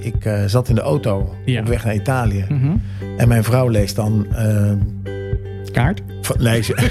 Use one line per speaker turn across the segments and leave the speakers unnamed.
ik eh, zat in de auto
Ja.
op weg naar Italië.
Mhm.
En mijn vrouw leest dan... eh,
Kaart.
van- nee, ze-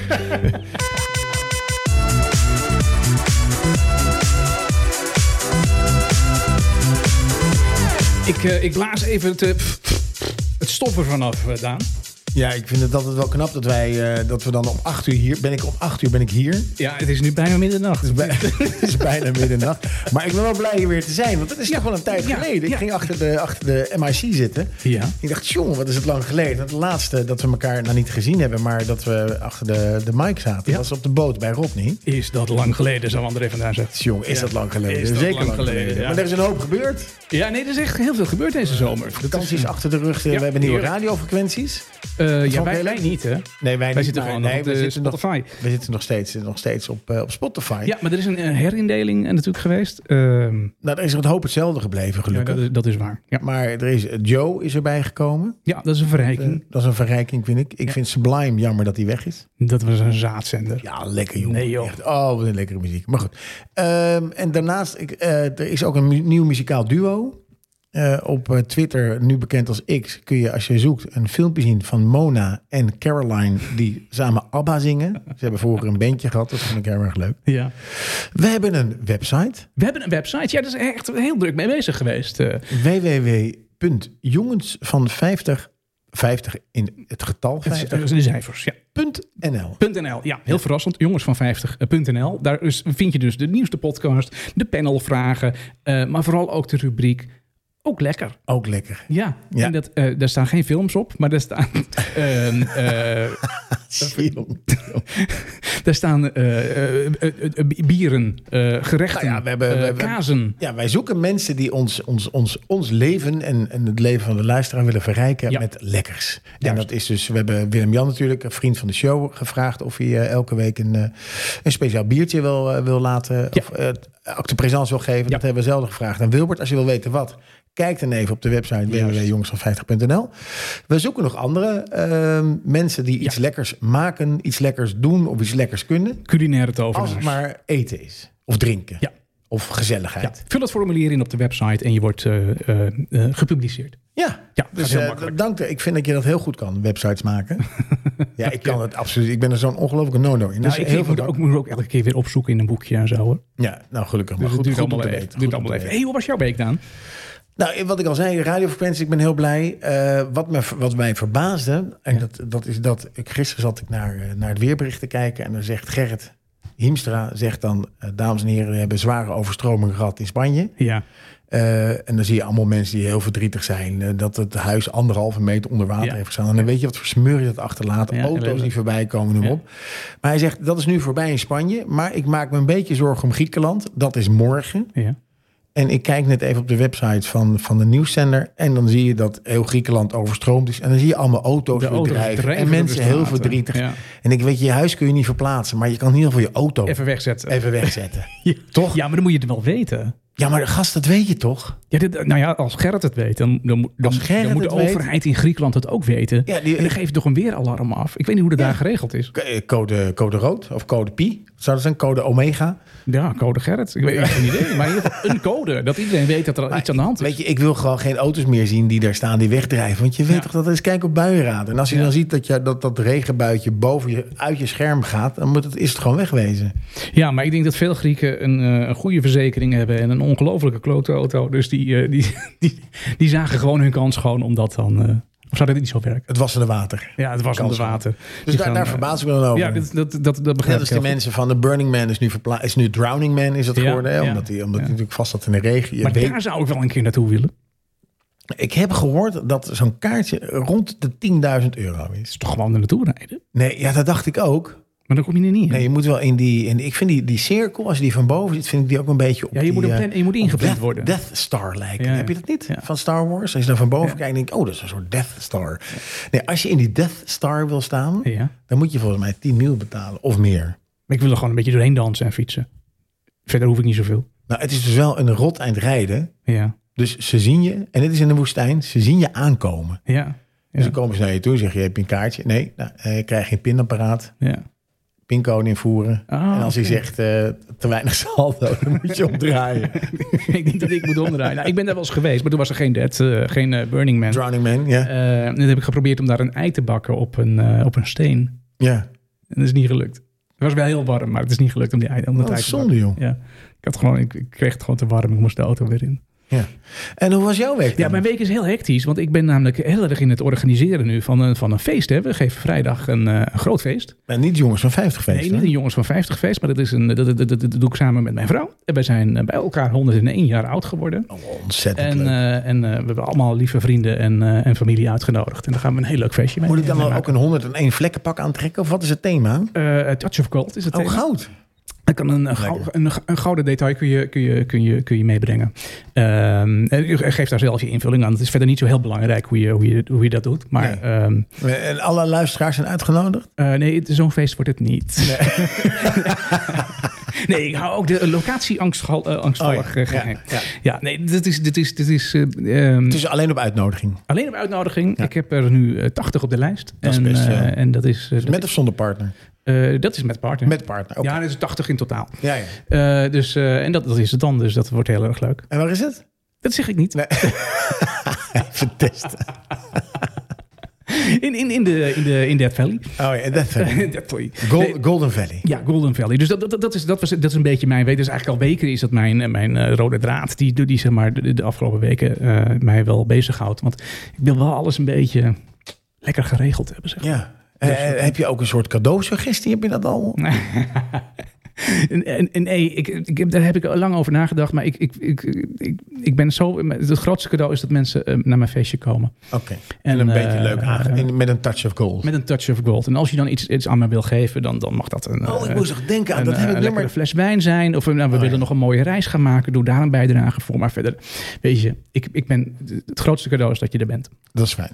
Ik, eh, ik blaas even het, eh, pff, pff, het stoppen vanaf, eh, Daan.
ja, ik vind het altijd wel knap dat wij... eh, dat we dan om acht uur hier... Ben ik om acht uur ben ik hier. Het
Ja, het is nu bijna middernacht.
is, bij- het is bijna middernacht. Maar ik ben wel blij hier weer te zijn. Want dat is toch wel een tijd
Ja,
geleden. Ik
ja.
ging achter de, achter de MIC zitten.
Ja.
Ik dacht, jongen, wat is het lang geleden. Het laatste dat we elkaar nou niet gezien hebben... maar dat we achter de, de mic zaten...
Ja.
was op de boot bij Rodney.
Is dat lang geleden, zou André vandaag zeggen.
Jong, is
Ja.
dat lang geleden?
Is dat
Zeker
lang
lang geleden.
geleden, ja.
Maar er is een hoop gebeurd.
Ja, nee, er is echt heel veel gebeurd deze zomer.
De kans is achter de rug. eh,
Ja,
we hebben nieuwe
heerlijk.
radiofrequenties.
Eh, ja,
Van
wij,
Helen?
wij niet, hè?
Nee, wij,
Wij
niet,
zitten
maar-
gewoon nog
nee,
op
we,
de
zitten nog,
Spotify.
we zitten nog steeds, nog steeds op, eh, op Spotify.
Ja, maar er is een, een herindeling en natuurlijk geweest. Ehm,
Nou, er is er het hoop hetzelfde gebleven,
ja,
gelukkig.
dat, is, dat is waar. Ja.
Maar er is, eh, Joe is erbij gekomen.
ja, dat is een
Eh,
verrijking.
dat is een verrijking, vind ik. Ik vind Sublime jammer dat hij weg is.
Dat was een zaadzender.
Ja, lekker jongen.
Nee, joh.
Echt, oh, wat een lekkere muziek. Maar goed. Ehm, en daarnaast, ik, eh, er is ook een mu- nieuw muzikaal duo. Eh, op eh, Twitter, nu bekend als X, kun je als je zoekt een filmpje zien van Mona en Caroline die samen ABBA zingen. Ze hebben vroeger een bandje gehad, dat vond ik heel erg leuk.
Ja.
We hebben een website,
We hebben een website. Ja, daar is echt heel druk mee bezig geweest. Eh,
www.jongensvan50, 50 in het getal
het is-
50,
het zijn de cijfers. Ja.
.nl.
.nl, ja, heel verrassend. Jongens van eh, 50.nl. Daar is, vind je dus de nieuwste podcast, de panelvragen, eh, maar vooral ook de rubriek Ook Lekker.
Ook lekker.
Ja,
Ja.
En dat, eh, daar staan geen films op, maar daar staan, ehm, eh, daar staan eh, eh, eh, eh, bieren, eh, gerechten,
Nou ja, we hebben- we
eh,
hebben-
kazen.
Ja, wij zoeken mensen die ons, ons, ons, ons leven en, en het leven van de luisteraar willen verrijken
Ja.
met lekkers. En
Juist.
dat is dus, we hebben Willem-Jan natuurlijk, een vriend van de show, gevraagd of hij eh, elke week een, eh, een speciaal biertje wil, eh, wil laten,
Ja.
of eh, acte présence wil geven. Dat hebben we zelden gevraagd. En Wilbert, als je wil weten wat, kijk dan even op de website
Juist.
www.jongensvan50.nl. We zoeken nog andere ehm, mensen die iets lekkers maken, iets lekkers doen of iets lekkers kunnen.
Culinaire
Als het
tovenaars.
maar eten is. Of drinken.
Ja.
Of
Ja.
gezelligheid.
Vul het formulier in op de website en je wordt eh, eh, eh, gepubliceerd.
Ja,
Ja, dat is
dus
heel
eh,
makkelijk.
dank. Ik vind dat je dat heel goed kan, websites maken. ja, ik kan het absoluut. Ik ben er zo'n ongelofelijke no-no in.
Dus
Dus
ik
heel veel
moet, ook, moet ook elke keer weer opzoeken in een boekje en zo. Hoor.
Ja, nou gelukkig maar.
Dus het
goed,
duurt
goed om te
allemaal
weten.
even. Het
Goed om
duurt allemaal
te
even.
weten.
hey, hoe was jouw week dan?
Nou, wat ik al zei, de radiofrequentie, ik ben heel blij. Eh, wat, me, wat mij verbaasde, en dat, dat is dat... Ik, gisteren zat ik naar, eh, naar het weerbericht te kijken en dan zegt Gerrit Hiemstra... zegt dan, eh, dames en heren, we hebben zware overstroming gehad in Spanje.
Ja.
Eh, en dan zie je allemaal mensen die heel verdrietig zijn. eh, dat het huis anderhalve meter onder water
Ja.
heeft gestaan. En dan weet je wat voor smeur je dat achterlaat.
Ja,
Auto's
inderdaad.
die voorbij komen, noem
Ja.
op. Maar hij zegt, dat is nu voorbij in Spanje. Maar ik maak me een beetje zorgen om Griekenland. Dat is morgen.
ja.
En ik kijk net even op de website van, van de nieuwszender. En dan zie je dat heel Griekenland overstroomd is. En dan zie je allemaal auto's
De
weer
auto's
drijven.
drijven
En
door de
mensen heel
straten.
verdrietig.
Ja.
En ik weet, je huis kun je niet verplaatsen. Maar je kan in ieder geval je auto even,
Even wegzetten.
wegzetten.
Ja.
Toch?
Ja, maar dan moet je het wel weten.
Ja, maar gast, dat weet je toch?
Ja, dit, nou ja, als Gerrit het weet, dan, dan, moet- dan,
Als Gerrit
dan moet de
het weet-
overheid in Griekenland het ook weten.
Ja, die-
en dan geef je toch een weeralarm af. Ik weet niet hoe dat
Ja.
daar geregeld is.
Eh, Code, code rood of code pi. Zou dat zijn? Code omega.
Ja, code Gerrit. Ik weet ik heb geen idee. Maar in ieder geval een code. Dat iedereen weet dat er iets aan de hand is.
Weet je, ik wil gewoon geen auto's meer zien die daar staan, die wegdrijven. Want je weet
Ja.
toch dat is kijk op buienraden. En als je
Ja.
dan ziet dat, je, dat dat regenbuitje boven je, uit je scherm gaat, dan moet het, is het gewoon wegwezen.
Ja, maar ik denk dat veel Grieken een, eh, een goede verzekering hebben en een ongelofelijke klote auto. Dus die, eh, die, die, die zagen gewoon hun kans gewoon om dat dan... eh, of zou dat niet zo werken?
Het was in de water.
Ja, het was
Kans
onder water.
Dus
Die
daar,
gaan,
daar
eh,
verbaas dus ik me dan over.
Ja, dat, dat, dat, dat begrijp
Net als
ik
de
heel goed.
mensen van de Burning Man is nu, verpla- is nu Drowning Man is dat
Ja,
geworden. Hè?
ja,
Omdat, die, omdat
ja.
die natuurlijk vast zat in de regen. Je
Maar
weet-
daar zou ik wel een keer naartoe willen.
Ik heb gehoord dat zo'n kaartje rond de 10.000 euro is.
Toch gewoon er naartoe rijden.
Nee, ja, dat dacht ik ook.
Maar dan kom je er niet in.
Nee, je moet wel in die. In, ik vind die, die cirkel, als je die van boven ziet, vind ik die ook een beetje op.
ja, je moet,
die,
een
eh,
plan, je moet ingepland
Death,
worden.
Death Star lijken.
Ja, ja.
Heb je dat niet?
Ja.
Van Star Wars. Als je dan van boven
Ja.
kijkt, denk ik, oh, dat is een soort Death Star. Nee, als je in die Death Star wil staan,
Ja.
dan moet je volgens mij 10 mil betalen of meer.
Maar ik wil er gewoon een beetje doorheen dansen en fietsen. Verder hoef ik niet zoveel.
Nou, het is dus wel een rot eind rijden.
Ja.
Dus ze zien je, en dit is in de woestijn, ze zien je aankomen.
Ja.
Dus
Ja.
dan komen ze naar je toe en zeggen, je hebt een kaartje. Nee, nou, eh, krijg je een pinapparaat.
ja.
pincode invoeren.
Ah,
en als hij
oké.
zegt eh, te weinig saldo, dan moet je omdraaien.
ik denk dat ik moet omdraaien. Nou, ik ben daar wel eens geweest, maar toen was er geen, dead, eh, geen eh, Burning Man.
Drowning Man, ja.
Eh, en toen heb ik geprobeerd om daar een ei te bakken op een, eh, op een steen.
ja. Oh,
En dat is niet gelukt. Het was wel heel warm, maar het is niet gelukt om die ei om dat
Dat
ei
is
te bakken.
zonde, joh.
Ja. Ik, had gewoon, ik, ik kreeg het gewoon te warm. Ik moest de auto weer in.
En hoe was jouw week
Ja,
dan?
mijn week is heel hectisch, want ik ben namelijk heel erg in het organiseren nu van een, van een feest. Hè. We geven vrijdag een, eh, een groot feest.
Maar niet jongens van 50 feest.
nee, niet
hè?
een jongens van 50 feest, maar dat, is een, dat, dat, dat, dat doe ik samen met mijn vrouw. En wij zijn eh, bij elkaar 101 jaar oud geworden.
Oh, ontzettend
En,
leuk.
eh, en eh, we hebben allemaal lieve vrienden en, eh, en familie uitgenodigd. En daar gaan we een heel leuk feestje mee
Moet ik dan
mee
wel ook een
maken.
101 vlekkenpak aantrekken? Of wat is het thema?
Eh, A Touch of Gold is het
Oh,
thema.
goud.
Dan kan een, een, gou- een, een gouden detail kun je, kun je, kun je, kun je meebrengen. Ehm, en u geeft daar zelf je invulling aan. Het is verder niet zo heel belangrijk hoe je, hoe je, hoe je dat doet. Maar
Nee.
ehm,
En alle luisteraars zijn uitgenodigd?
Eh, nee, het- zo'n feest wordt het niet. Nee, ik hou ook de locatie angstval, eh, angstvallig
Oh
eh, geheim. Ja, nee, dit is, dit is, dit is eh, ehm,
Het is alleen op uitnodiging.
alleen op uitnodiging.
Ja.
Ik heb er nu eh, 80 op de lijst.
Dat is
en,
best,
eh,
ja. Dus
en dat is, eh, dat,
Met of zonder partner?
eh, dat is met partner.
Met partner, oké.
Ja, dat is 80 in totaal.
Ja, ja.
Eh, dus, eh, en dat, dat is het dan, dus dat wordt heel erg leuk.
En waar is het?
Dat zeg ik niet.
Even testen.
In, in, in, de, in, de, in Death Valley.
Oh ja, dat vind ik.
Death Valley.
Gol-
Nee.
Golden Valley.
Ja, Golden Valley. Dus dat, dat, dat, is, dat, was, dat is een beetje mijn weet. Dus eigenlijk al weken is dat mijn, eh, mijn eh, rode draad. Die, die zeg maar de, de afgelopen weken eh, mij wel bezighoudt. Want ik wil wel alles een beetje lekker geregeld hebben. Zeg.
Ja. Eh,
Dus-
eh, heb je ook een soort cadeausuggestie? Heb je dat al?
En, en, en nee, ik, ik, heb- daar heb ik al lang over nagedacht. Maar ik, ik, ik, ik, ik ben zo. Het grootste cadeau is dat mensen eh, naar mijn feestje komen.
Oké. En een
eh,
beetje leuk aange- in- met een touch of gold.
Met een touch of gold. En als je dan iets, iets aan mij wil geven, dan, dan mag dat een.
oh, ik
eh,
moest nog denken aan dat
een,
heb
eh,
ik
een lekkere
nummer.
fles wijn zijn. Of eh, nou, we
ja.
willen nog een mooie reis gaan maken. Doe daar een bijdrage voor. Maar verder, weet je, ik, ik ben, het grootste cadeau is dat je er bent.
Dat is fijn.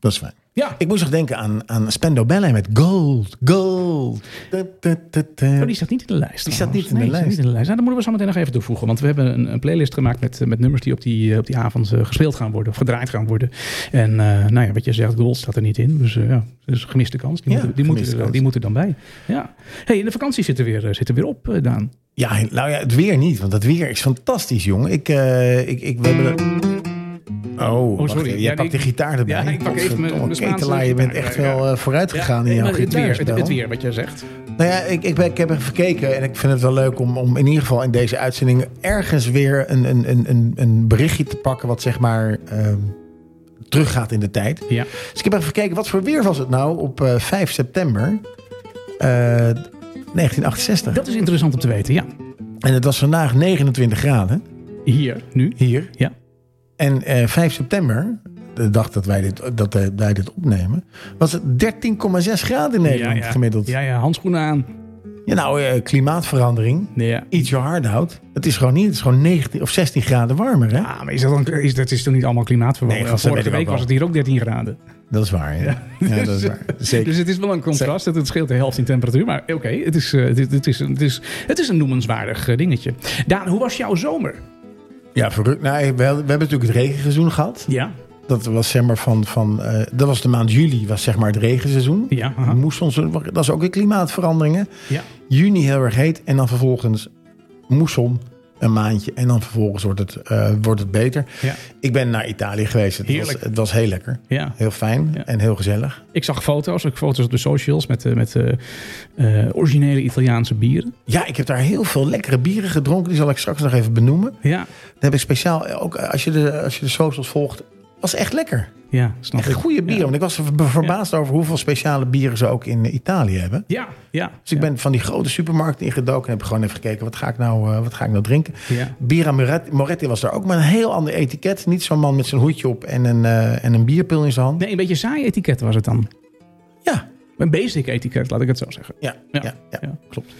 Dat is fijn.
Ja,
Ik moest nog denken aan, aan Spendo Ballet met gold, gold. Da, da, da, da.
oh, die staat niet in de lijst.
Die staat
trouwens.
niet in de
Nee, die staat
lijst.
niet in de lijst. Nou, dan moeten we zo meteen nog even toevoegen. Want we hebben een, een playlist gemaakt met, eh, met nummers die op die, eh, op die avond eh, gespeeld gaan worden. Of gedraaid gaan worden. En eh, nou ja, wat je zegt, gold staat er niet in. Dus eh, ja, dat is een gemiste kans. Die,
Ja,
moeten, die, moeten
gemiste
er,
kans.
die moeten er dan bij. Ja. hey, en de vakantie zit er weer, eh, zit er weer op, eh, Daan.
Ja, nou ja, het weer niet, want het weer is fantastisch, jongen. Ik, eh, ik, ik we hebben. Oh, wacht
sorry.
even. Jij
Ja,
pakt
die-
de gitaar erbij.
Ja, ik pak even mijn-
Godverdomme,
mijn Spaanse
Ketelaar, je bent
gitaar.
echt
Ja, ja.
wel eh, vooruit gegaan in
nee,
jouw
maar het, weer, het,
gitaarspel.
het weer, wat jij zegt.
Nou ja, ik, ik, ben- ik heb even gekeken en ik vind het wel leuk om, om in ieder geval in deze uitzending ergens weer een, een, een, een, een berichtje te pakken wat zeg maar ehm, teruggaat in de tijd.
Ja.
Dus ik heb even gekeken, wat voor weer was het nou op eh, 5 september eh, 1968?
Dat is interessant om te weten, ja.
En het was vandaag 29 graden
Hier, nu.
hier.
Ja.
En eh, 5 september, de dag dat wij dit, dat eh, wij dit opnemen, was het 13,6 graden in Nederland
ja, ja.
gemiddeld.
Ja, ja, handschoenen aan.
Ja, nou, eh, klimaatverandering.
Nee, ja.
Eat your heart out. Het is gewoon niet, het is gewoon 19 of 16 graden warmer, hè?
Ah, maar is dat, dan, is, dat is toch niet allemaal klimaatverwarming?
Nee, gast, dat
Vorige
weet ik
week
ook
was
wel.
het hier ook 13 graden.
Dat is waar, ja. Ja, dat is waar. Zeker.
Dus het is wel een contrast. Het scheelt de helft in temperatuur. Maar oké, het, is, eh, het, is- het, is, een- het, is, het is een noemenswaardig eh, dingetje. Daan, hoe was jouw zomer?
Ja, verrukt. Nou, we, we hebben natuurlijk het regenseizoen gehad.
Ja.
Dat was zeg maar van, van eh, dat was de maand juli, was zeg maar het regenseizoen.
Ja, aha.
We moesten ons, dat is ook weer klimaatveranderingen.
ja.
Juni heel erg heet en dan vervolgens moesson een maandje en dan vervolgens wordt het, eh, wordt het beter.
Ja.
Ik ben naar Italië geweest. Het, was,
Heerlijk.
het was heel lekker.
ja.
Heel fijn
Ja.
en heel gezellig.
Ik zag foto's, ook foto's op de socials met, eh, met eh, eh, originele Italiaanse bieren.
Ja, ik heb daar heel veel lekkere bieren gedronken. Die zal ik straks nog even benoemen.
Ja,
Dat heb ik speciaal, ook eh, als je de, als je de socials volgt, was echt lekker.
ja snap
Echt
ik.
goede bieren. Want ik was ver- verbaasd over hoeveel speciale bieren ze ook in eh, Italië hebben.
Ja, ja.
Dus ik ben van die grote supermarkt ingedoken en heb gewoon even gekeken, wat ga ik nou, eh, wat ga ik nou drinken?
Ja.
Bira Moretti, Moretti was daar ook, maar een heel ander etiket. Niet zo'n man met zijn hoedje op en een, eh, en een bierpil in zijn hand.
Nee, een beetje saai etiket was het dan.
Ja,
Een basic etiket, laat ik het zo zeggen.
ja, ja,
Ja,
ja,
ja.
klopt.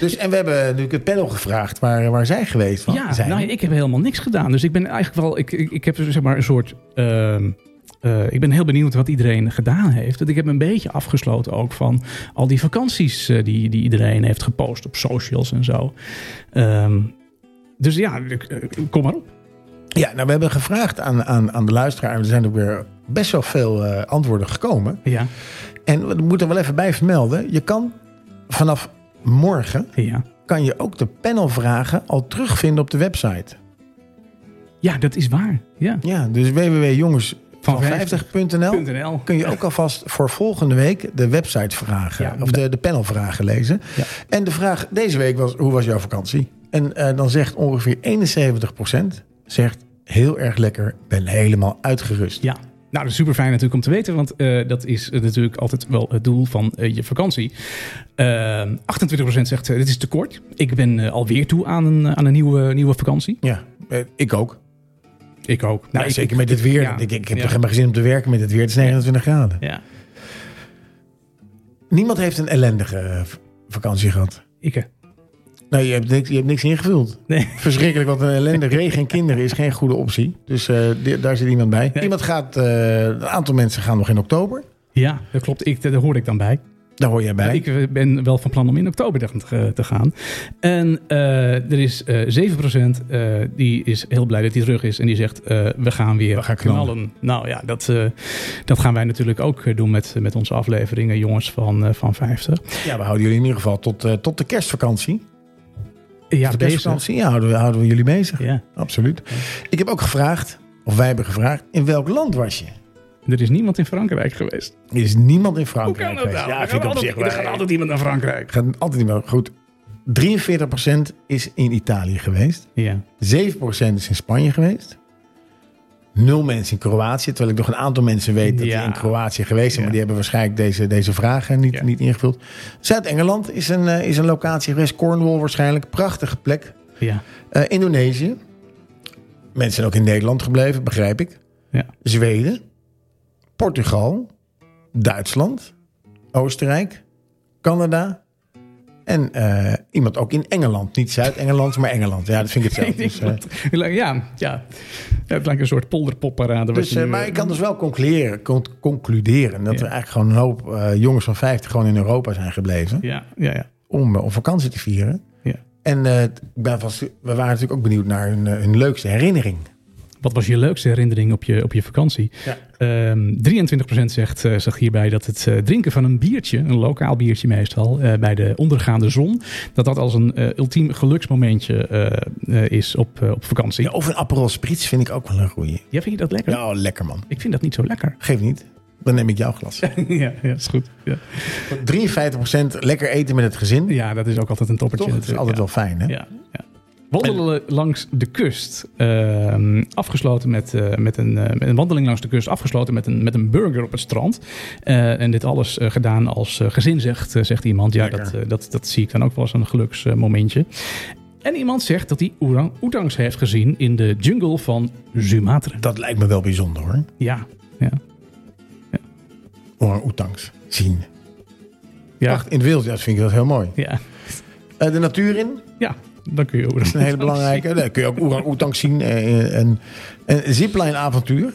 Dus, en we hebben natuurlijk het panel gevraagd waar, waar zij geweest van
Ja,
zijn.
nou, ik heb helemaal niks gedaan. Dus ik ben eigenlijk wel. Ik, ik, ik heb zeg maar een soort. ehm, eh, ik ben heel benieuwd wat iedereen gedaan heeft. Want ik heb me een beetje afgesloten ook van al die vakanties eh, die, die iedereen heeft gepost op socials en zo. Ehm, dus ja, ik- eh, kom maar op.
Ja, nou, we hebben gevraagd aan, aan, aan de luisteraar. en Er zijn ook weer best wel veel eh, antwoorden gekomen.
Ja.
En we moeten er wel even bij vermelden. Je kan vanaf morgen
Ja.
kan je ook de panelvragen al terugvinden op de website.
ja, dat is waar. Ja.
Ja, dus www.jongensvan50.nl
.nl.
kun je ook alvast voor volgende week de websitevragen
Ja.
of de, de panelvragen lezen.
Ja.
En de vraag deze week was, hoe was jouw vakantie? En eh, dan zegt ongeveer 71% zegt, heel erg lekker, ben helemaal uitgerust.
Ja. Nou, dat is super fijn natuurlijk om te weten, want eh, dat is eh, natuurlijk altijd wel het doel van eh, je vakantie. Ehm 28% zegt, eh, dit is te kort. Ik ben eh, alweer toe aan een, eh, aan een nieuwe, nieuwe vakantie.
Ja, eh, ik ook.
Ik ook. Nou,
Nou,
ik-
zeker
ik-
met dit weer.
ja.
Ik, ik heb
Ja.
er geen zin om te werken met dit weer. Het is 29 graden.
Ja,
Niemand heeft een ellendige eh, v- vakantie gehad.
ik. eh,
Nou, je hebt niks, je hebt niks ingevuld.
Nee.
Verschrikkelijk, want een ellende, regen en kinderen is geen goede optie. Dus eh, di- daar zit iemand bij.
Nee.
Iemand gaat, eh, een aantal mensen gaan nog in oktober.
Ja, dat klopt. Ik, eh, daar hoorde ik dan bij.
Daar hoor jij bij.
Ik eh, ben wel van plan om in oktober te, te gaan. En eh, er is eh 7% eh, die is heel blij dat hij terug is. En die zegt, eh, we gaan weer
We gaan knallen.
knallen. Nou ja, dat, eh, dat gaan wij natuurlijk ook eh, doen met, met onze afleveringen, jongens van, eh, van 50.
Ja, we houden jullie in ieder geval tot, eh, tot de kerstvakantie.
Ja,
de
bezig.
kerstvakantie ja, houden, we, houden we jullie bezig.
Ja,
Absoluut. Ik heb ook gevraagd, of wij hebben gevraagd, in welk land was je?
er is niemand in Frankrijk geweest.
Er is niemand in
Hoe
Frankrijk
kan dat
geweest.
nou?
Ja,
er,
vind
gaat
ik op zich
altijd, er
wel-
gaat altijd iemand naar Frankrijk.
gaat altijd niet wel goed. 43% is in Italië geweest.
Ja,
7% is in Spanje geweest. Nul mensen in Kroatië. Terwijl ik nog een aantal mensen weet dat
Ja.
die in Kroatië geweest zijn.
Ja.
Maar die hebben waarschijnlijk deze, deze vragen niet,
Ja.
niet ingevuld. Zuid-Engeland is een, eh, is een locatie geweest. Cornwall waarschijnlijk. Prachtige plek.
ja,
Eh, Indonesië. Mensen zijn ook in Nederland gebleven, begrijp ik.
Ja.
Zweden. Portugal. Duitsland. Oostenrijk. Canada. En eh, iemand ook in Engeland. Niet Zuid-Engeland, maar Engeland. Ja, dat vind ik hetzelfde. Dus, eh,
ja. ja, ja. Het lijkt een soort polderpopparade. wat
dus,
je
eh,
nu-
maar ik kan dus wel concluderen, con- concluderen dat
Ja.
er eigenlijk gewoon een hoop eh, jongens van 50 gewoon in Europa zijn gebleven.
Ja, ja, ja.
om, eh, om vakantie te vieren.
Ja.
En eh, ik ben vast, we waren natuurlijk ook benieuwd naar hun, eh, hun leukste herinnering.
Wat was je leukste herinnering op je, op je vakantie?
Ja.
Ehm 23% zegt, eh, zag hierbij dat het eh, drinken van een biertje, een lokaal biertje meestal, eh, bij de ondergaande zon, dat dat als een eh, ultiem geluksmomentje eh, eh, is op, eh, op vakantie.
Ja, of een Aperol Spritz vind ik ook wel een goeie.
Ja, vind je dat lekker?
Ja, lekker man.
Ik vind dat niet zo lekker.
Geef niet. Dan neem ik jouw glas.
ja, ja, is goed. Ja.
53% lekker eten met het gezin.
ja, dat is ook altijd een toppertje.
Toch? Dat is
natuurlijk,
altijd
ja.
wel fijn, hè?
Ja, ja. Wandelen langs de kust. Ehm, afgesloten met, eh, met, een, eh, met een wandeling langs de kust. Afgesloten met een, met een burger op het strand. Eh, en dit alles eh, gedaan als eh, gezin, zegt, eh, zegt iemand. Ja,
Lekker.
dat, eh, dat, dat zie ik dan ook wel als een geluksmomentje. en iemand zegt dat hij orang oetangs heeft gezien in de jungle van Sumatra.
Dat lijkt me wel bijzonder, hoor.
Ja, ja.
Orang-oetangs zien.
Ja,
Wacht, in het wild, ja, dat vind ik wel heel mooi.
ja.
Eh, de natuur in, dat
ja dan kun je
is een hele belangrijke. Daar kun je ook orang-oetangs zien. Eh, en, en zipline-avontuur.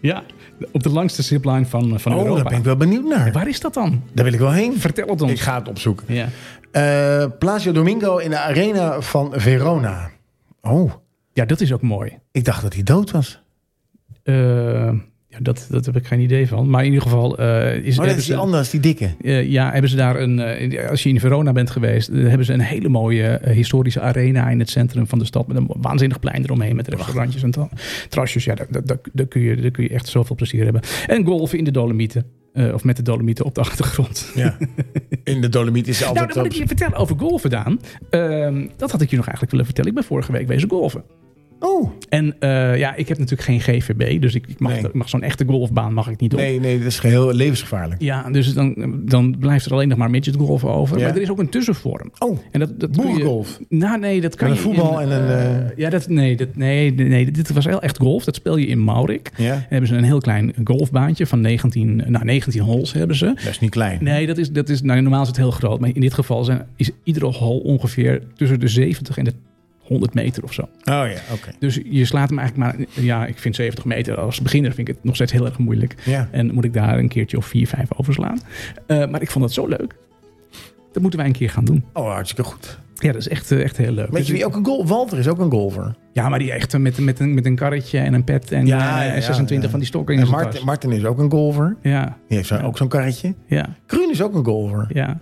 Ja, op de langste zipline van, van
Oh, daar
Europa.
ben ik wel benieuwd naar.
Waar is dat dan?
Daar wil ik wel heen.
Vertel het ons.
Ik ga het opzoeken.
Ja.
Eh Placio Domingo in de arena van Verona. Oh,
ja, dat is ook mooi.
ik dacht dat hij dood was.
Eh, ja, dat, dat heb ik geen idee van. Maar in ieder geval eh, is,
Oh, dat
hebben
is die
ze-
andere, dat is die dikke.
eh, ja, hebben ze daar een. eh, in- als je in Verona bent geweest, eh, hebben ze een hele mooie eh, historische arena in het centrum van de stad. Met een waanzinnig plein eromheen met restaurantjes en tra- terrasjes. Ja, daar, daar, daar- daar kun je, daar kun je echt zoveel plezier hebben. En golven in de Dolomieten. Eh, of met de Dolomieten op de achtergrond.
Ja. In de Dolomiet is
Nou,
altijd...
dan moet ik je vertellen over golven, Daan. Ehm, dat had ik je nog eigenlijk willen vertellen. Ik ben vorige week wezen golven.
Oh,
En eh, ja, ik heb natuurlijk geen GVB. Dus ik, ik mag,
Nee.
ik mag zo'n echte golfbaan mag ik niet op.
nee, nee, dat is geheel levensgevaarlijk.
Ja, dus dan, dan blijft er alleen nog maar midgetgolf over.
Ja.
Maar er is ook een tussenvorm.
Oh,
En dat, dat kun je-
boerengolf.
Nou, nee, dat kan
Met een
je in,
voetbal en een,
eh,
eh,
ja, dat, nee, dat, nee, nee, dit was heel echt golf. Dat speel je in Maurik. En
Ja,
hebben ze een heel klein golfbaantje van 19, nou, 19 holes hebben ze.
dat is niet klein.
Nee, dat is, dat is, nou, normaal is het heel groot. Maar in dit geval zijn, is iedere hole ongeveer tussen de 70 en de 100 meter of zo.
Oh ja, oké.
Dus je slaat hem eigenlijk maar... Ja, ik vind 70 meter als beginner vind ik het nog steeds heel erg moeilijk.
Ja.
En moet ik daar een keertje of vier, vijf overslaan. Eh, maar ik vond dat zo leuk. Dat moeten wij een keer gaan doen.
Oh, hartstikke goed.
Ja, dat is echt, eh, echt heel leuk.
Weet je wie ook een golf... Walter is ook een golfer.
Ja, maar die echt eh, met, met, een, met een karretje en een pet en
Ja,
eh,
ja, ja,
26
ja.
van die stokken in
En
zijn
Martin,
tas.
Martin is ook een golfer.
Ja,
Die heeft zo- ook zo'n karretje.
ja,
Kruun is ook een golfer.
ja.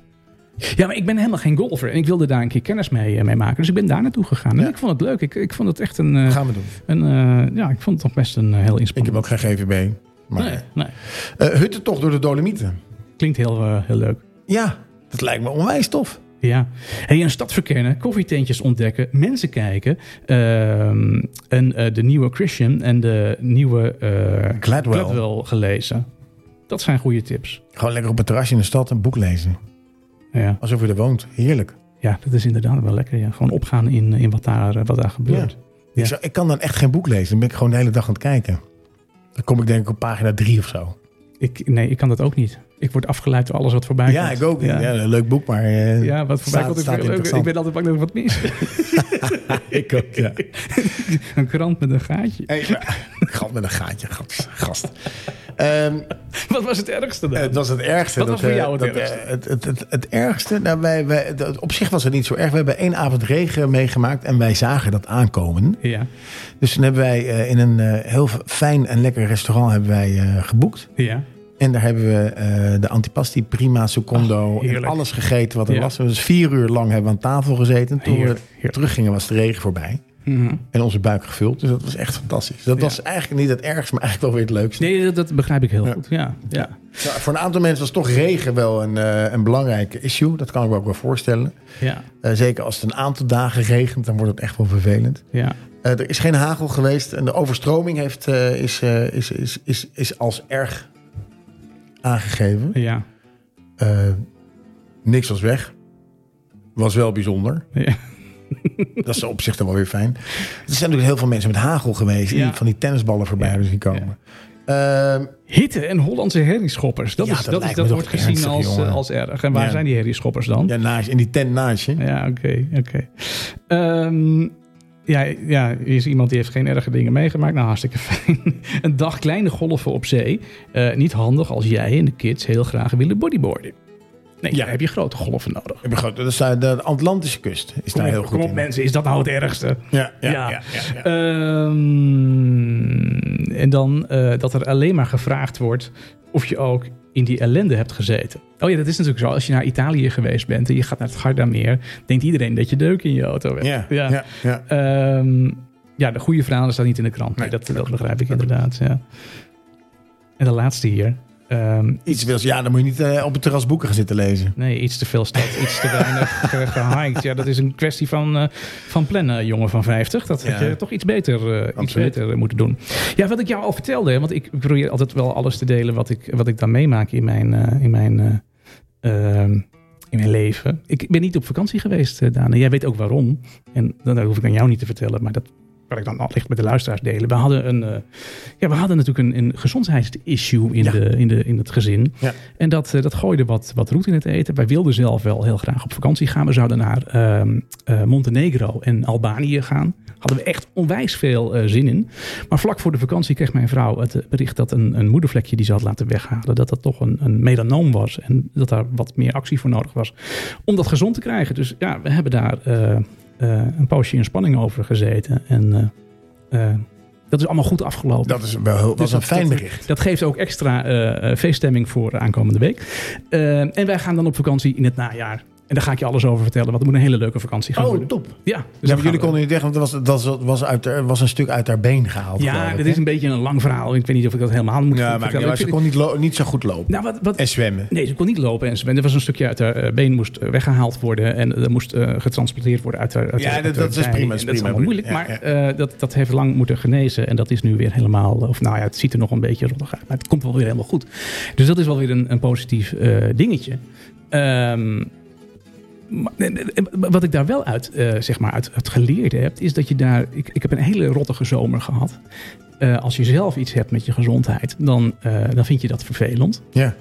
Ja, maar ik ben helemaal geen golfer. En ik wilde daar een keer kennis mee, eh, mee maken. Dus ik ben daar naartoe gegaan. En
Ja.
ik vond het leuk. Ik, ik vond het echt een... eh,
Gaan we doen.
een eh, ja, ik vond het toch best een eh, heel
Ik heb
inspannend.
ook geen GVB. Maar,
nee, nee.
Eh, huttentocht door de Dolomieten.
Klinkt heel, eh, heel leuk.
Ja, dat lijkt me onwijs tof.
Ja. Hey, een stad verkennen, koffietentjes ontdekken, mensen kijken. ehm, en eh, de nieuwe Christian en de nieuwe eh
Gladwell.
Gladwell gelezen. Dat zijn goede tips.
Gewoon lekker op het terrasje in de stad een boek lezen.
Ja,
Alsof je er woont. Heerlijk.
ja dat is inderdaad wel lekker. Ja. Gewoon opgaan in, in wat, daar, eh, wat daar gebeurt. Ja.
Ik, zou- ik kan dan echt geen boek lezen. Dan ben ik gewoon de hele dag aan het kijken. Dan kom ik denk ik op pagina drie of zo.
Ik, nee, ik kan dat ook niet. Ik word afgeleid door alles wat voorbij
ja,
komt.
ik ook. Ja.
Ja,
een leuk boek, maar... eh,
Ja, wat voorbij
Staat-
komt.
staat
ik, ik,
interessant.
ben altijd bang dat ik wat mis.
Ik ook, ja.
een krant met een gaatje.
Hey, maar- gat met een gaatje, gast. gast. Ehm,
Wat was het ergste dan?
Eh, Het was het ergste.
Wat was voor
eh,
jou het
dat,
ergste?
eh, Het, het, het, het ergste, nou, wij, wij, dat- op zich was het niet zo erg. We hebben één avond regen meegemaakt en wij zagen dat aankomen.
Ja,
Dus toen hebben wij eh, in een eh, heel fijn en lekker restaurant hebben wij, eh, geboekt.
ja.
En daar hebben we eh, de antipasti prima secondo
Ah, heerlijk.
en alles gegeten wat er
Ja.
was. Dus vier uur lang hebben we aan tafel gezeten. Toen
Heerlijk,
we
heerlijk.
teruggingen was de regen voorbij.
Mhm.
En onze buik gevuld. Dus dat was echt fantastisch. Dat
Ja.
was eigenlijk niet het ergste, maar eigenlijk wel weer het leukste.
Nee, dat, dat begrijp ik heel
Ja.
goed. Ja, ja.
Nou, voor een aantal mensen was toch regen wel een, eh, een belangrijk issue. Dat kan ik me ook wel voorstellen.
ja.
Eh, zeker als het een aantal dagen regent, dan wordt het echt wel vervelend.
Ja,
Eh, er is geen hagel geweest en de overstroming heeft, eh, is, eh, is, is, is, is als erg aangegeven.
ja,
Eh, niks was weg. Was wel bijzonder.
ja.
Dat is op zich dan wel weer fijn. Er zijn natuurlijk heel veel mensen met hagel geweest.
Ja.
Die van die tennisballen voorbij
Ja.
hebben zien komen. Ehm,
Hitte en Hollandse herrieschoppers. Dat,
Ja,
is,
dat
dat, is,
lijkt
dat
me
wordt
toch
gezien
ernstig,
als,
jongen.
eh, als erg. En waar
Ja.
zijn die herrieschoppers dan? Ja,
ja, naast, in die tent naast je.
oké, oké. Ehm, ja, ja, er is iemand die heeft geen erge dingen meegemaakt. Nou, hartstikke fijn. Een dag kleine golven op zee. Eh, niet handig als jij en de kids heel graag willen bodyboarden. Nee,
Ja.
daar heb je grote golven nodig.
Ik ben groot. Dat is daar- de Atlantische kust. Is daar
Kom
heel
op,
goed
kom op
in.
mensen, is dat nou het ergste?
Ja, ja,
Ja.
ja. ja, ja.
Ehm, en dan eh, dat er alleen maar gevraagd wordt of je ook in die ellende hebt gezeten. Oh ja, dat is natuurlijk zo. Als je naar Italië geweest bent en je gaat naar het Gardameer, denkt iedereen dat je deuk in je auto hebt.
Ja, ja. ja,
Ehm, ja, de goede verhalen staan niet in de krant. Nee,
Nee,
dat,
dat
dat
klopt.
begrijp ik
Dat klopt.
inderdaad. Ja. En de laatste hier. Ehm,
Iets wils. Ja, dan moet je niet eh, op het terras boeken gaan zitten lezen.
nee, iets te veel stad, iets te weinig eh, gehiked. Ja, dat is een kwestie van, eh, van plannen, jongen van 50. Dat had
Ja.
je toch iets beter, eh, iets
Absoluut.
beter eh, moeten doen. Ja, wat ik jou al vertelde, hè, want ik probeer altijd wel alles te delen wat ik, wat ik dan meemaak in mijn, eh, in mijn, eh, ehm, in mijn leven. Ik ben niet op vakantie geweest, eh, Daan. En jij weet ook waarom. En dat dat hoef ik aan jou niet te vertellen, maar dat kan ik dan allicht met de luisteraars delen. We hadden, een, eh, ja, we hadden natuurlijk een, een gezondheidsissue in,
Ja.
de, in, de, in het gezin.
Ja.
En dat, eh, dat gooide wat, wat roet in het eten. Wij wilden zelf wel heel graag op vakantie gaan. We zouden naar ehm, eh, Montenegro en Albanië gaan. Hadden we echt onwijs veel eh, zin in. Maar vlak voor de vakantie kreeg mijn vrouw het eh, bericht dat een, een moedervlekje die ze had laten weghalen, dat dat toch een, een melanoom was. En dat daar wat meer actie voor nodig was om dat gezond te krijgen. Dus ja, we hebben daar eh, eh, een poosje in spanning over gezeten. En eh, eh, dat is allemaal goed afgelopen.
Dat is wel, heel- was
Dus
een
dat-
fijn
dat-
bericht.
Dat geeft ook extra eh, eh, feeststemming voor aankomende week. Eh, en wij gaan dan op vakantie in het najaar. En daar ga ik je alles over vertellen, want het moet een hele leuke vakantie gaan worden.
Oh, top.
Ja, dus
Ja,
dan
maar
gaan
jullie
we-
konden niet weg, want het was, dat was, was, uit, haar- was een stuk uit haar been gehaald. geloof
Ja,
ik,
dat
hè?
is een beetje een lang verhaal. Ik weet niet of ik dat helemaal moet
Ja, maar
vertellen.
niet uit.
Ik
ze
vind-
kon niet, lo- niet zo goed lopen.
Nou, wat, wat,
En zwemmen.
Nee, ze kon niet lopen en ze er was een stukje uit haar eh, been moest eh, weggehaald worden en er moest eh, getransporteerd worden uit haar. Uit
Ja,
haar- uit
dat-
haar
dat is
bij.
prima, is
En
prima,
allemaal moeilijk,
prima.
maar
Ja,
eh, dat, dat heeft lang moeten genezen en dat is nu weer helemaal, of nou ja, het ziet er nog een beetje rottig uit, maar het komt wel weer helemaal goed. Dus dat is wel weer een, een positief eh, dingetje. Ehm, maar- nee, nee, wat ik daar wel uit, eh, zeg maar, uit, uit geleerd heb, is dat je daar. Ik, ik heb een hele rottige zomer gehad. Eh, als je zelf iets hebt met je gezondheid, dan, eh, dan vind je dat vervelend.
Ja.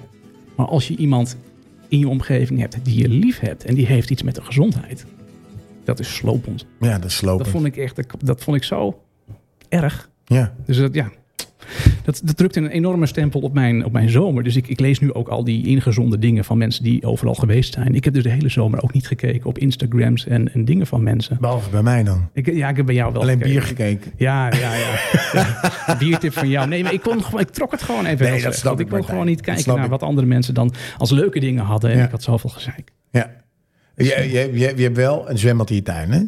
Maar als je iemand in je omgeving hebt die je lief hebt en die heeft iets met de gezondheid, dat is slopend.
ja, dat is lopen.
Dat vond ik echt, dat vond ik zo erg.
Ja.
Dus dat, ja, dat, dat drukte een enorme stempel op mijn, op mijn zomer. Dus ik, ik lees nu ook al die ingezonde dingen van mensen die overal geweest zijn. Ik heb dus de hele zomer ook niet gekeken op Instagrams en, en dingen van mensen.
Behalve bij mij dan.
Ik, ja, ik heb bij jou wel
Alleen
gekeken.
bier gekeken.
Ja, ja, ja. ja. Biertip van jou. Nee, maar ik, kon, gewoon- ik trok het gewoon even
Nee,
heel
dat
slecht,
snap
want
ik,
Ik kon
Martijn.
gewoon niet
Dat
kijken
snap
naar
ik.
wat andere mensen dan als leuke dingen hadden. En
Ja.
ik had zoveel gezeik.
Ja.
Dus-
Je, je, je, je hebt wel een zwembad in je tuin, hè?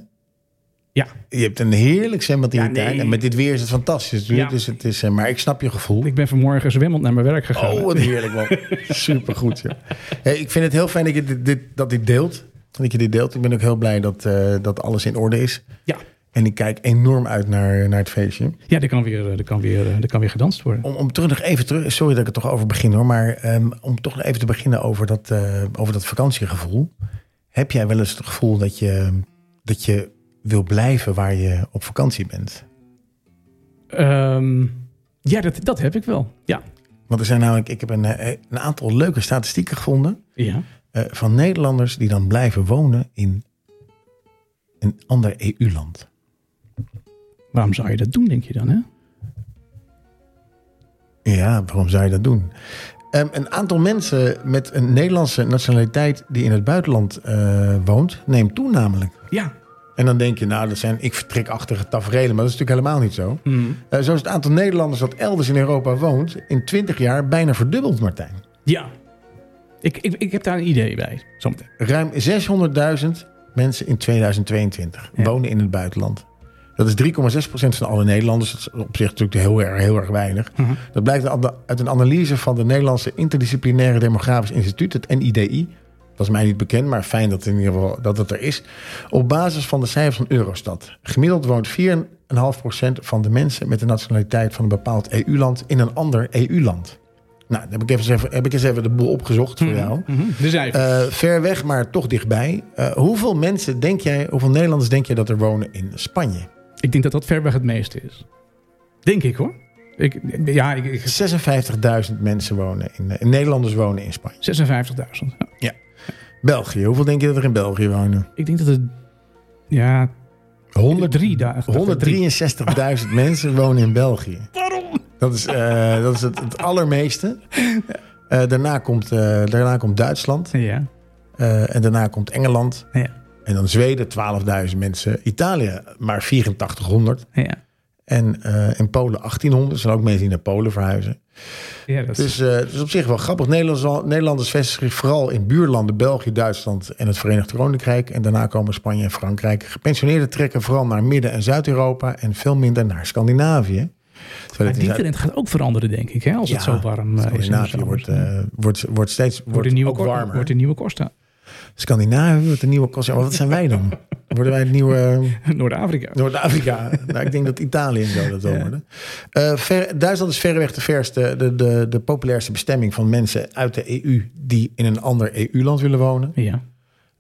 Ja.
Je hebt een heerlijk zwembad in
Ja,
je tuin.
nee.
En met dit weer is het fantastisch. natuurlijk.
Ja.
Dus het is, eh, maar ik snap je gevoel.
Ik ben vanmorgen zwemmend naar mijn werk gegaan.
Oh, wat heerlijk man. Supergoed, joh. Hey, ik vind het heel fijn dat je dit, dit, dat dit deelt. Dat je dit deelt. Ik ben ook heel blij dat, eh, dat alles in orde is.
Ja.
En ik kijk enorm uit naar, naar het feestje.
Ja, er kan weer, er kan weer, er kan weer gedanst worden.
Om, om terug nog even terug... Sorry dat ik er toch over begin hoor. Maar ehm, om toch nog even te beginnen over dat, eh, over dat vakantiegevoel. Heb jij wel eens het gevoel dat je, dat je wil blijven waar je op vakantie bent?
Ehm, ja, dat, dat heb ik wel. Ja.
Want er zijn namelijk... Ik heb een, eh, een aantal leuke statistieken gevonden...
ja.
eh, van Nederlanders die dan blijven wonen in een ander E EU-land.
Waarom zou je dat doen, denk je dan? Hè?
Ja, waarom zou je dat doen? Ehm, een aantal mensen met een Nederlandse nationaliteit die in het buitenland eh, woont, neemt toe namelijk.
Ja.
En dan denk je, nou, dat zijn ik vertrekachtige tafereelen, maar dat is natuurlijk helemaal niet zo.
Hm.
Eh, zo is het aantal Nederlanders dat elders in Europa woont in 20 jaar bijna verdubbeld, Martijn.
Ja. Ik, ik, ik heb daar een idee bij. Zometeen.
Ruim 600.000 mensen in 2022
Ja.
wonen in het buitenland. Dat is 3,6% van alle Nederlanders. Dat is op zich natuurlijk heel erg, heel erg weinig.
Mhm.
Dat blijkt uit de- uit een analyse van de Nederlandse Interdisciplinaire Demografisch Instituut, het NIDI. Dat is mij niet bekend, maar fijn dat, in ieder geval, dat het er is. Op basis van de cijfers van Eurostat. Gemiddeld woont 4,5% van de mensen met de nationaliteit van een bepaald EU-land in een ander EU-land. Nou, dan heb ik, eens even, heb ik eens even de boel opgezocht voor jou.
Mhm. De cijfers.
Eh, ver weg, maar toch dichtbij. Eh, hoeveel mensen denk jij, hoeveel Nederlanders denk jij dat er wonen in Spanje?
ik denk dat dat ver weg het meeste is. Denk ik hoor. Ik, ja, ik, ik-
56.000 mensen wonen in, eh, Nederlanders wonen in Spanje.
56.000. Ja.
België, hoeveel denk je dat er in België wonen?
Ik denk dat het. Ja, 103 dagen.
163.000 mensen wonen in België.
Waarom?
Dat is, eh, dat is het, het allermeeste. Eh, daarna, komt, eh, daarna komt Duitsland.
Ja.
Eh, en daarna komt Engeland.
Ja.
En dan Zweden, 12.000 mensen. Italië, maar 8400.
Ja.
En eh, in Polen 1800. Er zijn ook mensen die naar Polen verhuizen.
ja dat is,
Dus eh, het is op zich wel grappig. Nederlanders, Nederlanders vestigen zich vooral in buurlanden België, Duitsland en het Verenigd Koninkrijk. En daarna komen Spanje en Frankrijk. Gepensioneerden trekken vooral naar Midden- en Zuid-Europa en veel minder naar Scandinavië. Terwijl het
maar
in
die
Zuid-
trend gaat ook veranderen, denk ik, hè, als het
Ja,
zo warm eh, is. in de
Scandinavië
zomers.
wordt, eh, wordt, wordt steeds
wordt
wordt
de nieuwe,
ook
Cor-
warmer.
Wordt de nieuwe Costa.
Scandinavië wordt de nieuwe kost. Maar wat zijn wij dan? Worden wij het nieuwe...
Noord-Afrika.
Noord-Afrika. nou, ik denk dat Italië en zo dat wel
Ja.
worden. Eh, ver- Duitsland is verreweg de, verste, de, de, de populairste bestemming van mensen uit de EU die in een ander EU-land willen wonen.
Ja.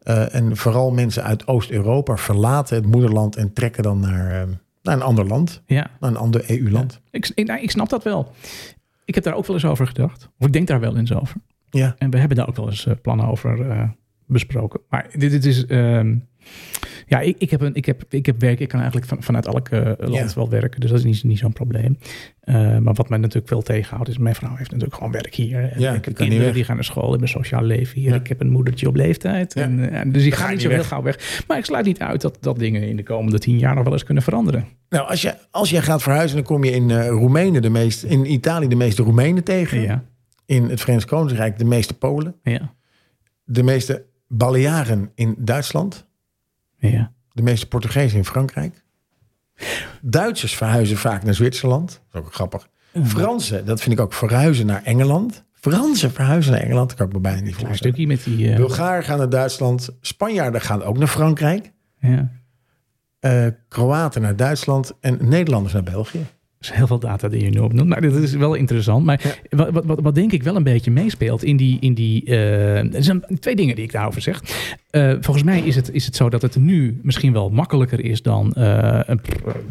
Eh, en vooral mensen uit Oost-Europa verlaten het moederland en trekken dan naar, eh, naar een ander land,
ja.
naar een ander E EU-land.
Ik, ik, nou, ik snap dat wel. Ik heb daar ook wel eens over gedacht. Of ik denk daar wel eens over.
Ja.
En we hebben daar ook wel eens eh, plannen over eh, besproken. Maar dit, dit is. ehm, ja, ik, ik, heb een, ik, heb, ik heb werk. Ik kan eigenlijk van, vanuit elk eh, land
Ja.
wel werken. Dus dat is niet, niet zo'n probleem. Eh, maar wat mij natuurlijk wel tegenhoudt, is mijn vrouw heeft natuurlijk gewoon werk hier. En
Ja,
ik
die
heb
kan niet
kinderen
weg.
die gaan naar school, hebben een sociaal leven hier.
Ja.
Ik heb een moedertje op leeftijd.
Ja.
En, eh, dus die
ga
gaan
je
niet zo
niet
heel gauw weg. Maar ik sluit niet uit dat, dat dingen in de komende tien jaar nog wel eens kunnen veranderen.
Nou, als, je, als jij gaat verhuizen, dan kom je in eh, Roemenen de meest, in Italië de meeste Roemenen tegen.
Ja,
In het Verenigd Koninkrijk de meeste Polen.
ja,
De meeste Balearen in Duitsland.
ja.
De meeste Portugezen in Frankrijk. Duitsers verhuizen vaak naar Zwitserland. Dat is ook grappig.
Mm.
Fransen, dat vind ik ook, verhuizen naar Engeland. Fransen verhuizen naar Engeland, dat kan ik me bijna niet
Klein
voorstellen.
stukje met die. eh,
Bulgaren gaan naar Duitsland. Spanjaarden gaan ook naar Frankrijk.
ja, er
Eh, Kroaten naar Duitsland. En Nederlanders naar België.
is heel veel data die je nu opnoemt. Maar dit is wel interessant. Maar wat, wat, wat, wat denk ik wel een beetje meespeelt in die. In die eh, er zijn twee dingen die ik daarover zeg. Eh, volgens mij is het, is het zo dat het nu misschien wel makkelijker is dan eh, een,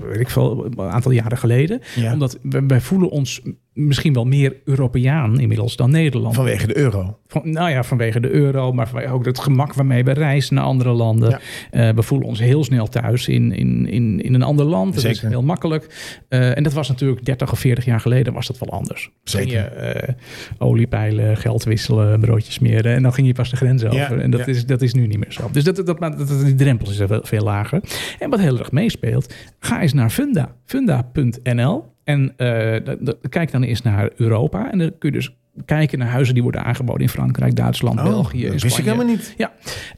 weet ik veel, een aantal jaren geleden.
Ja.
Omdat we- wij voelen ons misschien wel meer Europeaan inmiddels dan Nederland.
Vanwege de euro.
Van- nou ja, vanwege de euro, maar vanwege ook het gemak waarmee we reizen naar andere landen.
Ja.
Eh, we voelen ons heel snel thuis in, in, in, in een ander land. Dat
Zeker.
is heel makkelijk. Eh, en dat was natuurlijk 30 of 40 jaar geleden was dat wel anders.
Zeker.
Ging je eh, olie peilen, geld wisselen, broodjes smeren. En dan ging je pas de grens over. en dat,
ja.
is, dat is nu niet meer zo. Dus dat, dat, dat, maakt- dat, dat- die drempel is veel, veel lager. En wat heel erg meespeelt, ga eens naar Funda. Funda.nl. En eh, dat- dat- kijk dan eens naar Europa. En dan kun je dus kijken naar huizen die worden aangeboden in Frankrijk, Duitsland,
Oh,
België,
dat
en
wist
Spanje.
ik helemaal niet.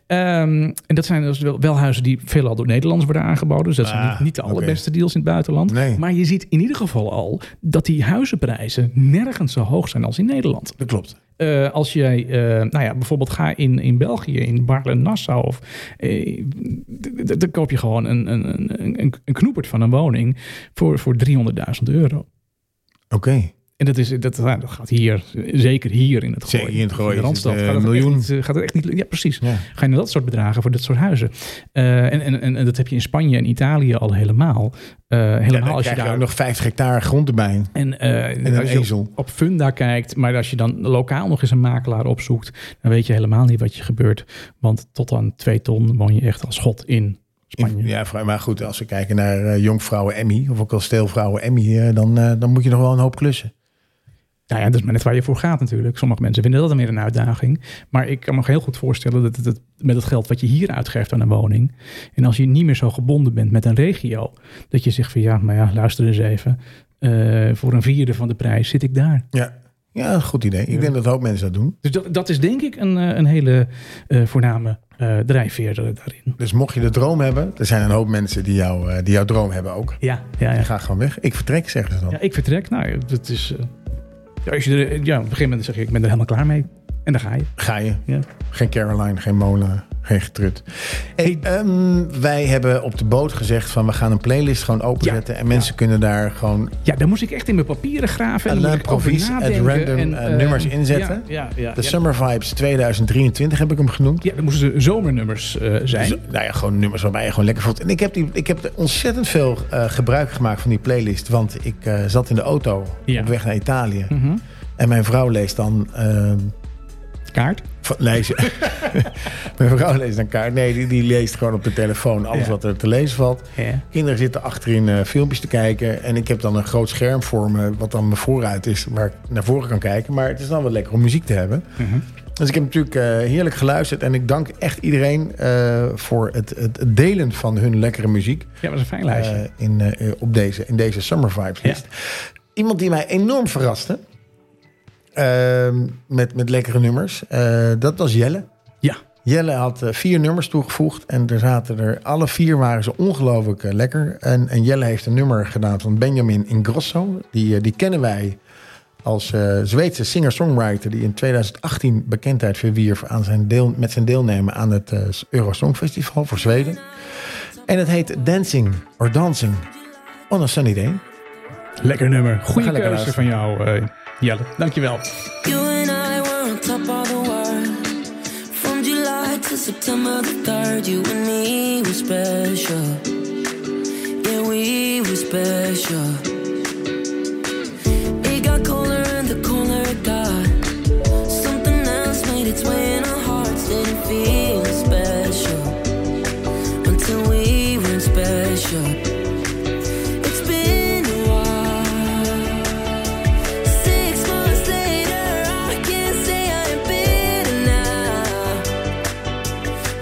Ehm, en dat zijn dus wel, wel huizen die veelal door Nederlanders worden aangeboden. Dus dat zijn
Ah,
niet, niet de
oké.
allerbeste deals in het buitenland.
Nee.
Maar je ziet in ieder geval al dat die huizenprijzen nergens zo hoog zijn als in Nederland.
Dat klopt.
Eh, als jij, eh, nou ja, bijvoorbeeld ga in, in België, in Barlen-Nassau, of eh, d- d- dan koop je gewoon een, een, een, een, een knoepert van een woning voor, voor 300.000 euro.
Oké.
En dat, is, dat, nou, dat gaat hier, zeker hier in het
Zeker
gooi.
hier in het Gooi
de
is het,
Randstad
eh,
gaat het
miljoen.
Echt niet, eh, gaat het echt niet, ja, precies.
Ja.
Ga je naar dat soort bedragen voor dat soort huizen. Eh, en, en, en, en dat heb je in Spanje en Italië al helemaal. Eh,
Ja,
helemaal
dan
als je
krijg je
daar
ook nog 50 hectare grond erbij.
en, eh,
En een
als je op-
ezel.
op Funda kijkt, maar als je dan lokaal nog eens een makelaar opzoekt, dan weet je helemaal niet wat je gebeurt. Want tot aan twee ton woon je echt als god in Spanje.
In- ja, vrou- maar goed, als we kijken naar eh, jonkvrouwen Emmy of ook kasteelvrouwen Emmy, eh, dan, eh, dan moet je nog wel een hoop klussen.
Nou ja, dat is maar net waar je voor gaat natuurlijk. Sommige mensen vinden dat dan weer een uitdaging. Maar ik kan me heel goed voorstellen dat het, het- met het geld wat je hier uitgeeft aan een woning. En als je niet meer zo gebonden bent met een regio. Dat je zegt van ja, maar ja, luister eens even. eh, voor een vierde van de prijs zit ik daar.
Ja, ja goed idee. Ik
Ja.
denk dat een hoop mensen dat doen.
Dus dat, dat is denk ik een, eh, een hele eh, voorname eh, drijfveer eh, daarin.
Dus mocht je de droom hebben, er zijn een hoop mensen die, jou, eh, die jouw droom hebben ook.
Ja, ja, ja.
Ga gewoon weg. Ik vertrek, zeggen ze dan.
ja ik vertrek. Nou, dat is. eh, ja, als je er, ja, op een gegeven moment zeg je, ik ben er helemaal klaar mee. En dan ga je.
Ga je.
Ja.
Geen Caroline, geen Mona, geen getrut. Hey, ehm, wij hebben op de boot gezegd van we gaan een playlist gewoon openzetten. en mensen kunnen daar gewoon
Ja, daar moest ik echt in mijn papieren graven. En
Alain
dan moest ik over
Provis at
nadenken
random,
en,
eh,
eh,
nummers inzetten.
Ja, ja, ja,
de
ja.
Summer Vibes 2023 heb ik hem genoemd.
Ja, er moesten zomernummers eh, zijn.
Dus, nou ja, gewoon nummers waarbij je gewoon lekker voelt. En ik heb, die, ik heb er ontzettend veel eh, gebruik gemaakt van die playlist. Want ik eh, zat in de auto
Ja.
op weg naar Italië.
Mhm.
En mijn vrouw leest dan... ehm,
Kaart.
van- nee, ze- mijn vrouw leest dan kaart. Nee, die, die leest gewoon op de telefoon alles
Ja.
wat er te lezen valt.
Ja.
Kinderen zitten achterin eh, filmpjes te kijken. En ik heb dan een groot scherm voor me, wat dan mijn vooruit is, waar ik naar voren kan kijken. Maar het is dan wel lekker om muziek te hebben.
Mhm.
Dus ik heb natuurlijk eh, heerlijk geluisterd. En ik dank echt iedereen eh, voor het, het het delen van hun lekkere muziek.
ja, was een fijn lijstje.
eh, in, eh, op deze, in deze Summer Vibes list. Iemand die mij enorm verraste. ehm, met, met lekkere nummers. eh, dat was Jelle.
ja.
Jelle had eh, vier nummers toegevoegd. En er zaten er, alle vier waren ze ongelooflijk eh, lekker. En, en Jelle heeft een nummer gedaan van Benjamin Ingrosso. Die, eh, die kennen wij als eh, Zweedse singer-songwriter... die in 2018 bekendheid verwierf aan zijn deel, met zijn deelnemen... aan het eh, Eurosong Festival voor Zweden. En het heet Dancing or Dancing on a Sunny Day.
Lekker nummer. Goede
lekker
keuze
luisteren.
van jou, eh Jelle. Dankjewel.
You and I were on top of the world. From July to September the 3rd, you and me were special. Yeah, we were special. It got colder and the colder it got. Something else made its way in our hearts. Didn't feel special until we were special. It's been a while. Six months later, I can't say I'm bitter now.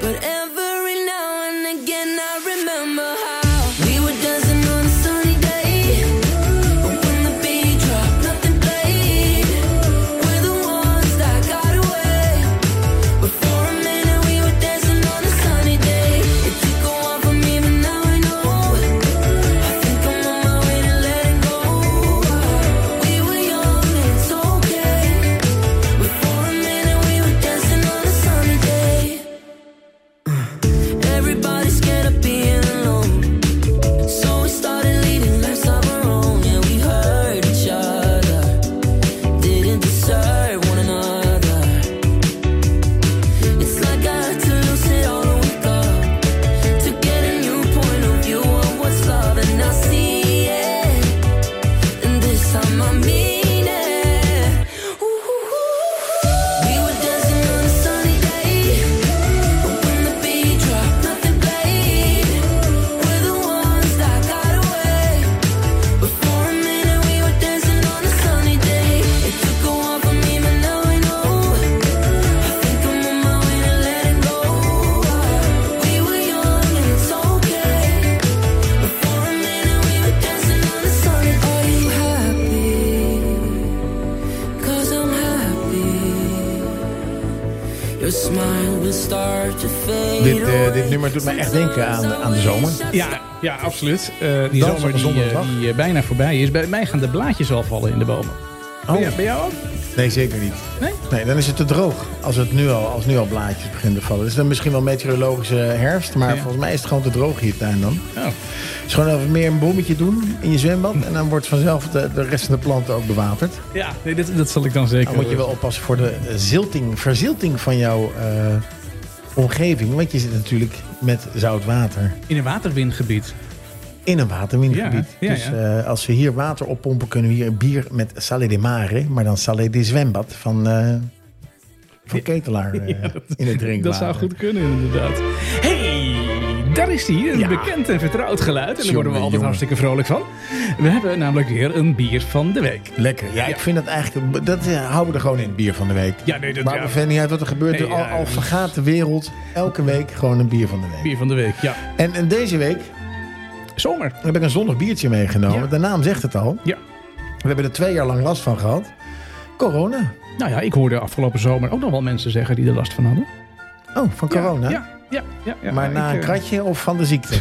But every now and again, I remember how we were dancing on a sunny day. When the beat dropped, nothing played. We're the ones that got away. But for a minute, we were dancing on a sunny day. It took a while for me, but now I know. I think I'm on my way to letting go. We were young, it's okay. But for a minute, we were dancing on a sunny day. Mm. Everybody's scared of being alone, so we started leading lives of our own. Yeah, we hurt each other, didn't deserve one another. It's like I had to lose it all to wake up. To get a new point of view on what's love, and I see it. And this time I mean it. We were dancing on a sunny day. When the beat dropped, nothing played. We're the ones that got away. But for a minute, we were dancing on a sunny day. It took a while for me, but now I know. I think I'm on my way to letting go. We were young and it's okay. But for a minute, we were dancing on a sunny day. smile will start to fade
Dit, eh,
away.
dit nummer doet mij echt denken aan, aan de zomer.
Ja, ja absoluut. Eh, die
Dansen
zomer
op een
die, eh,
zondag.
die, eh, bijna voorbij is. Bij mij gaan de blaadjes al vallen in de bomen.
Oh.
Bij jou- bij jou ook?
Nee, zeker niet.
Nee?
Nee, dan is het te droog als, het nu al, als nu al blaadjes beginnen te vallen. Dus dan misschien wel meteorologische herfst, maar
Ja.
volgens mij is het gewoon te droog hier tuin dan.
Oh.
Dus gewoon even meer een bommetje doen in je zwembad en dan wordt vanzelf de, de rest van de planten ook bewaterd.
Ja, nee, dat, dat zal ik dan zeker.
Dan moet je wel oppassen voor de eh, zilting, verzilting van jouw eh, omgeving, want je zit natuurlijk met zout water
eh, In een waterwindgebied.
in een waterwingebied.
Ja, ja,
dus
ja.
eh, als we hier water oppompen, kunnen we hier een bier met Sale de Mare, maar dan Sale de Zwembad van, eh, van Ketelaar eh, in het drinkwater.
Dat zou goed kunnen, inderdaad. hey, daar is hij. Een
Ja.
bekend en vertrouwd geluid. En daar
Jongen,
worden we altijd
jongen.
hartstikke vrolijk van. We hebben namelijk weer een bier van de week.
Lekker. Ja, ik vind dat eigenlijk, dat eh, houden we er gewoon in het bier van de week.
Ja, nee, dat
maar
ja,
we vinden niet uit wat er gebeurt.
Nee,
al,
ja,
al
dat-
vergaat de wereld elke week gewoon een bier van de week.
bier van de week. Ja,
En, en deze week
zomer.
heb ik een zonnig biertje meegenomen.
Ja.
De naam zegt het al.
Ja.
We hebben er twee jaar lang last van gehad. Corona.
Nou ja, ik hoorde afgelopen zomer ook nog wel mensen zeggen die er last van hadden.
Oh, van
Ja,
corona.
Ja, ja, ja. ja.
Maar na
ik,
een
eh,
kratje of van de ziekte?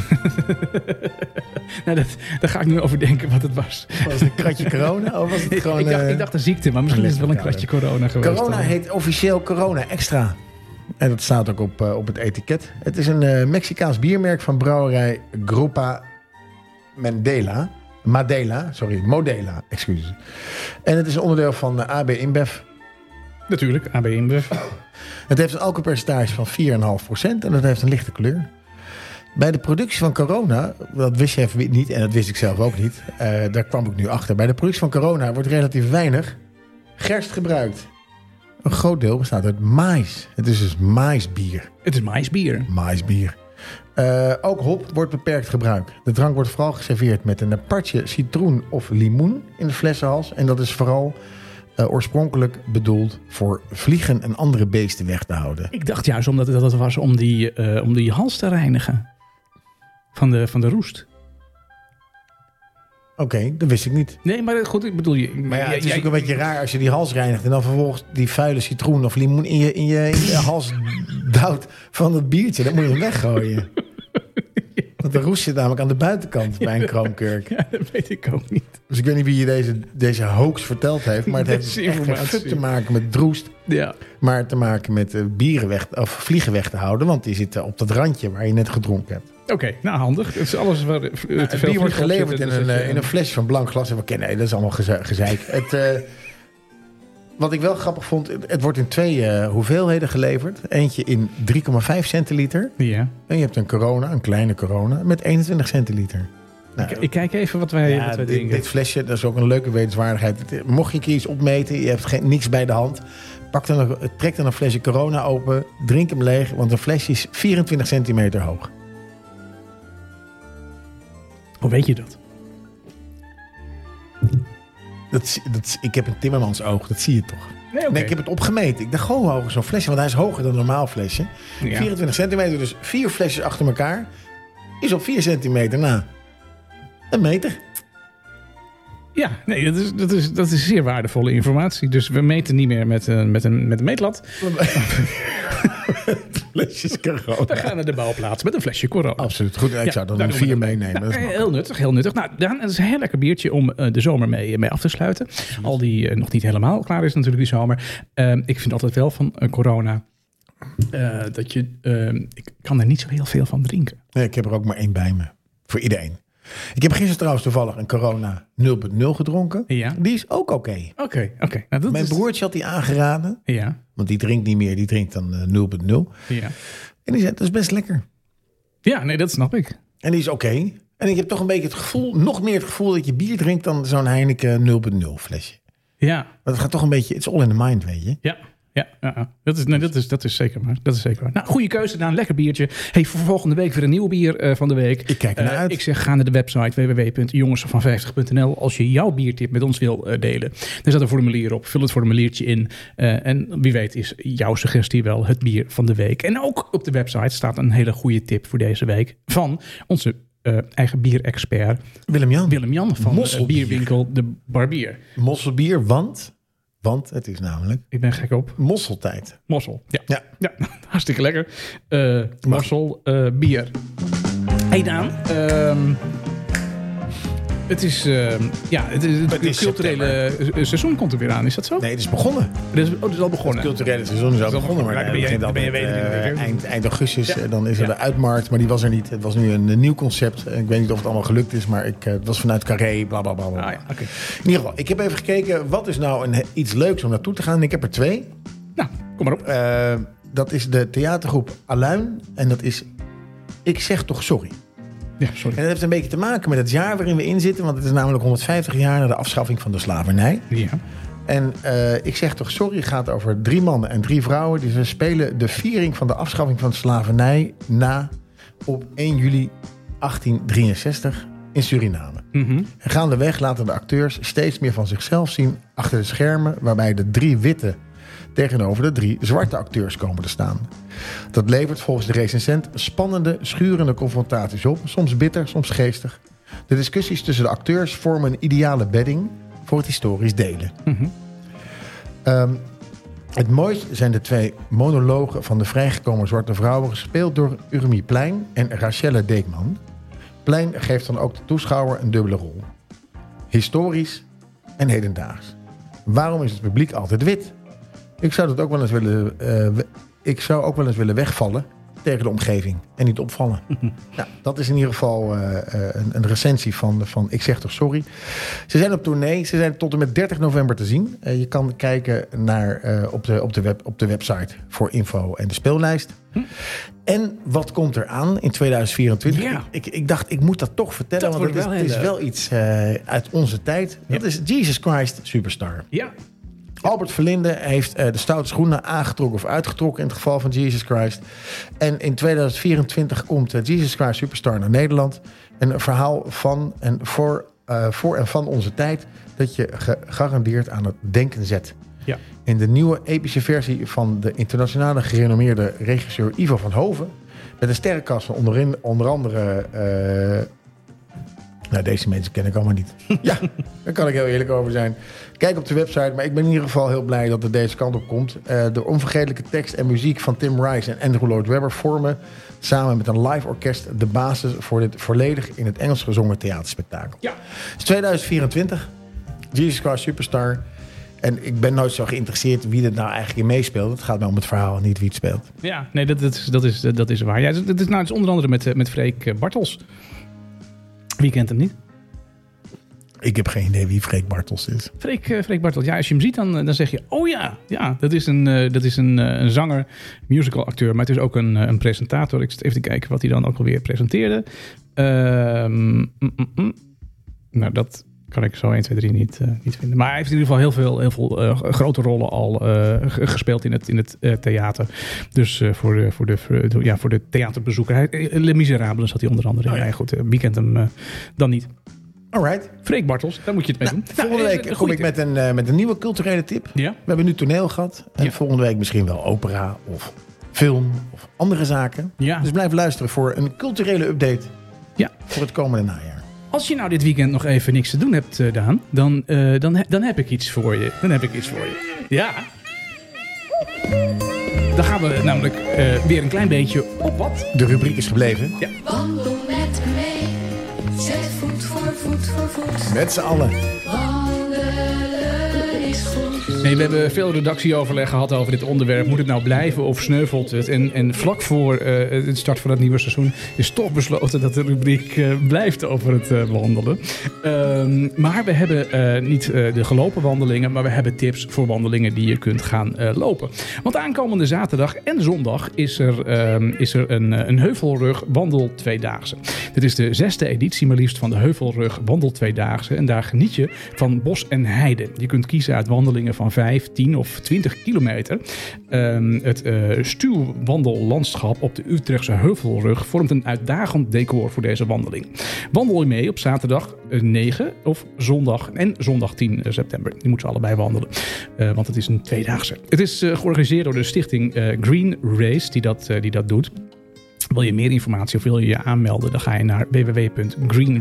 nou, dat, daar ga ik nu over denken wat het was.
Was het een kratje corona of was het gewoon...
ik, dacht,
eh,
ik dacht een ziekte, maar misschien is het wel een kratje corona geweest.
Corona
dan.
heet officieel Corona Extra. En dat staat ook op, eh, op het etiket. Het is een eh, Mexicaans biermerk van brouwerij Grupa Mendela. Madela, sorry, Modela, excuses. En het is een onderdeel van eh, AB InBev.
Natuurlijk, AB InBev.
Het heeft een alcoholpercentage van 4,5% en dat heeft een lichte kleur. Bij de productie van corona, dat wist je even niet en dat wist ik zelf ook niet, eh, daar kwam ik nu achter. Bij de productie van corona wordt relatief weinig gerst gebruikt. Een groot deel bestaat uit maïs. Het is dus maïsbier.
Het is maïsbier.
Maïsbier. Eh, ook hop wordt beperkt gebruikt. De drank wordt vooral geserveerd met een apartje citroen of limoen in de flessenhals. En dat is vooral eh, oorspronkelijk bedoeld voor vliegen en andere beesten weg te houden.
Ik dacht juist omdat het, dat het was om die, eh, om die hals te reinigen. Van de, van de roest.
Oké, dat wist ik niet.
Nee, maar goed, ik bedoel je.
Maar ja, het is
jij-
ook een beetje raar als je die hals reinigt... en dan vervolgens die vuile citroen of limoen in je, in je, in je hals duwt van het biertje. Dat moet je hem weggooien. Want de roest zit namelijk aan de buitenkant bij een kroonkurk.
Ja, dat weet ik ook niet.
Dus ik weet niet wie je deze, deze hoax verteld heeft... maar het heeft
Deze
echt geen
informatie.
fuck te maken met droest...
Ja,
maar te maken met eh, bieren weg, of vliegen weg te houden... want die zitten op dat randje waar je net gedronken hebt.
oké. nou, handig. Het is alles waar eh, te
Het
veel
bier Nou, wordt
vliegen op
geleverd in
zitten,
een,
dus dat
eh,
je-
in een flesje van blank glas. En we kennen, nee, dat is allemaal geze- gezeik. het, eh, wat ik wel grappig vond, het, het wordt in twee eh, hoeveelheden geleverd. Eentje in 3,5 centiliter.
Ja.
En je hebt een corona, een kleine corona, met 21 centiliter. Nou,
Ik kijk even wat wij,
ja,
wat wij
dit,
drinken.
dit flesje, dat is ook een leuke wetenswaardigheid. Het- eh, Mocht je een keer iets opmeten, je hebt geen, niks bij de hand. Pak dan een, trek dan een flesje corona open, drink hem leeg. Want een flesje is 24 centimeter hoog.
Hoe weet je dat?
Dat, is- dat, is- ik heb een timmermans oog, dat zie je toch?
Nee, oké.
Nee, ik heb het opgemeten. Ik dacht gewoon hoe hoog is zo'n flesje, want hij is hoger dan een normaal flesje.
Ja.
24 centimeter, dus vier flesjes achter elkaar is op 4 centimeter na. Een meter.
Ja, nee, dat is, dat, is, dat is zeer waardevolle informatie. Dus we meten niet meer met een, met een, met een meetlat.
Flesjes
We
corona.
gaan naar de bouwplaats met een flesje corona.
Absoluut. Goed, ik
Ja,
zou dan
daar
een
doen we
4
dat.
meenemen. Dat is
Nou,
makkelijk.
heel nuttig, heel nuttig. Nou, Daan, het is een heel lekker biertje om eh, de zomer mee, mee af te sluiten. Al die eh, nog niet helemaal klaar is natuurlijk die zomer. Ehm, ik vind altijd wel van eh, corona eh, dat je... ehm, ik kan er niet zo heel veel van drinken.
Nee, ik heb er ook maar één bij me. Voor iedereen. Ik heb gisteren trouwens toevallig een corona 0.0 gedronken.
Ja.
Die is ook oké.
Oké, oké. Nou, dat
Mijn
is-
broertje had die aangeraden.
Ja,
Want die drinkt niet meer. Die drinkt dan eh, 0.0.
ja.
En die zei, dat is best lekker.
ja, nee, dat snap ik.
En die is oké. En ik heb toch een beetje het gevoel, nog meer het gevoel dat je bier drinkt dan zo'n Heineken 0.0 flesje.
Ja,
Want het gaat toch een beetje, it's all in the mind, weet je.
Ja, ja, ja, ja. Dat, is, nee, dat, is, dat is zeker waar. Dat is zeker waar. Nou, goede keuze. Nou, een lekker biertje. Hey, voor volgende week weer een nieuw bier eh, van de week.
Ik kijk ernaar
Eh,
uit.
Ik zeg, ga naar de website www.jongensvan50.nl als je jouw biertip met ons wil eh, delen. Er zat een formulier op. Vul het formuliertje in. Eh, en wie weet is jouw suggestie wel het bier van de week. En ook op de website staat een hele goede tip voor deze week van onze eh, eigen bierexpert
Willem-Jan,
Willem-Jan van eh,
Mosselbier.
bierwinkel De Barbier.
mosselbier, want Want het is namelijk
Ik ben gek op
mosseltijd.
mossel. Ja,
Ja.
ja hartstikke lekker. Eh, mossel, eh, bier. Hey Daan. ehm, het is, ehm, ja, het, is- het,
Het is
culturele eh, seizoen komt er weer aan. Is dat zo?
Nee, het is begonnen.
Dat is, oh, dat is al begonnen.
Culturele seizoen is al
wel
begonnen, maar
begonnen.
het
Ja,
begint
dan ben je-
altijd
dan ben je
eh,
weten.
eind, eind augustus.
Ja.
eh, Dan is er
Ja.
de uitmarkt, maar die was er niet. Het was nu een, eh, nieuw concept. Eh, Ik weet niet of het allemaal gelukt is, maar ik, eh, het was vanuit Carré, bla bla bla. bla.
Ah, ja, oké.
In ieder geval, ik heb even gekeken, wat is nou een, iets leuks om naartoe te gaan? En Ik heb er twee.
Nou, kom maar op.
Eh, dat is de theatergroep Aluin en dat is Ik zeg toch sorry.
Ja, sorry.
En dat heeft een beetje te maken met het jaar waarin we in zitten, want het is namelijk 150 jaar na de afschaffing van de slavernij.
Ja.
En eh, ik zeg toch sorry, gaat over drie mannen en drie vrouwen. Die ze spelen de viering van de afschaffing van slavernij na op 1 juli 1863 in Suriname.
Mhm.
En gaandeweg laten de acteurs steeds meer van zichzelf zien achter de schermen, waarbij de drie witte tegenover de drie zwarte acteurs komen te staan. Dat levert volgens de recensent spannende, schurende confrontaties op, soms bitter, soms geestig. De discussies tussen de acteurs vormen een ideale bedding voor het historisch delen.
Mhm.
Ehm, het mooist zijn de twee monologen van de vrijgekomen zwarte vrouwen... gespeeld door Urmie Plein en Rachelle Deekman. Plein geeft dan ook de toeschouwer een dubbele rol. Historisch en hedendaags. Waarom is het publiek altijd wit? Ik zou, dat ook wel eens willen, eh, we- ik zou ook wel eens willen wegvallen tegen de omgeving en niet opvallen. nou, dat is in ieder geval eh, eh, een, een recensie van, van Ik zeg toch sorry. Ze zijn op tournee. Ze zijn tot en met 30 november te zien. Eh, je kan kijken naar, eh, op, de, op, de web, op de website voor info en de speellijst. En wat komt er aan in 2024?
Ja.
Ik, ik dacht, ik moet dat toch vertellen.
Dat
want
wordt
het is,
wel
het is
heel
wel iets eh, uit onze tijd. Dat is Jesus Christ Superstar.
Ja.
Albert Verlinde heeft eh, de stoute schoenen aangetrokken of uitgetrokken in het geval van Jesus Christ. En in 2024 komt eh, Jesus Christ Superstar naar Nederland. Een verhaal van en voor, eh, voor en van onze tijd dat je gegarandeerd aan het denken zet.
Ja.
In de nieuwe epische versie van de internationale gerenommeerde regisseur Ivo van Hoven. Met een sterrenkast van onderin, onder andere... eh, nou, deze mensen ken ik allemaal niet. ja, daar kan ik heel eerlijk over zijn. Kijk op de website, maar ik ben in ieder geval heel blij dat het deze kant op komt. Eh, de onvergetelijke tekst en muziek van Tim Rice en Andrew Lloyd Webber vormen samen met een live orkest de basis voor dit volledig in het Engels gezongen theaterspektakel.
Ja.
Het is 2024. Jesus Christ Superstar. En ik ben nooit zo geïnteresseerd wie er nou eigenlijk in meespeelt. Het gaat mij om het verhaal en niet wie het speelt.
Ja, nee, dat, dat, is, dat, is, dat is waar. Ja, dat is, nou, het is onder andere met, eh, met Freek eh, Bartels. Wie kent hem niet?
Ik heb geen idee wie Freek Bartels is.
Freek, eh, Freek Bartels. Ja, als je hem ziet, dan, eh, dan zeg je... Oh ja, ja dat is een, eh, dat is een, eh, een zanger, musical acteur. Maar het is ook een, eh, een presentator. Ik zit even te kijken wat hij dan ook alweer presenteerde. Ehm, mm, mm, mm. Nou, dat kan ik zo 1, 2, 3 niet, eh, niet vinden. Maar hij heeft in ieder geval heel veel, heel veel eh, grote rollen al eh, ge- gespeeld in het, in het eh, theater. Dus eh, voor, de, voor, de, voor de- ja, voor de theaterbezoeker. Hij, eh, Les Miserables zat hij onder andere in.
Oh ja.
ja. goed, eh, wie kent hem eh, dan niet?
All right.
Freek Bartels, daar moet je het mee doen.
Volgende
Nou, eh,
week
een
kom
goede
ik met een, eh, met een nieuwe culturele tip.
tip. Ja?
We hebben nu toneel gehad. En
Ja.
volgende week misschien wel opera of film of andere zaken.
Ja.
Dus blijf luisteren voor een culturele update
Ja.
voor het komende najaar.
Als je nou dit weekend nog even niks te doen hebt, eh, Daan, dan, eh, dan, he- dan heb ik iets voor je. Dan heb ik iets voor je. Ja. Dan gaan we namelijk eh, weer een klein beetje op wat.
De rubriek is gebleven.
Wandel met me mee, zet voet voor voet voor voet.
Met z'n allen.
Wandelen is goed.
Nee, we hebben veel redactieoverleg gehad over dit onderwerp. Moet het nou blijven of sneuvelt het? En, en vlak voor eh, het start van het nieuwe seizoen is toch besloten dat de rubriek eh, blijft over het eh, wandelen. Ehm, maar we hebben eh, niet eh, de gelopen wandelingen, maar we hebben tips voor wandelingen die je kunt gaan eh, lopen. Want aankomende zaterdag en zondag is er, ehm, is er een, eh, een Heuvelrug Wandel Tweedaagse. Dit is de zesde editie maar liefst van de Heuvelrug Wandel Tweedaagse. En daar geniet je van bos en heide. Je kunt kiezen uit wandelingen van 5, 10 of 20 kilometer. Ehm, het eh, stuwwandellandschap op de Utrechtse Heuvelrug vormt een uitdagend decor voor deze wandeling. Wandel je mee op zaterdag eh, 9 of zondag en zondag 10 september. Je moet ze allebei wandelen, eh, want het is een tweedaagse. Het is eh, georganiseerd door de stichting eh, Green Race die dat, eh, die dat doet. Wil je meer informatie of wil je je aanmelden, dan ga je naar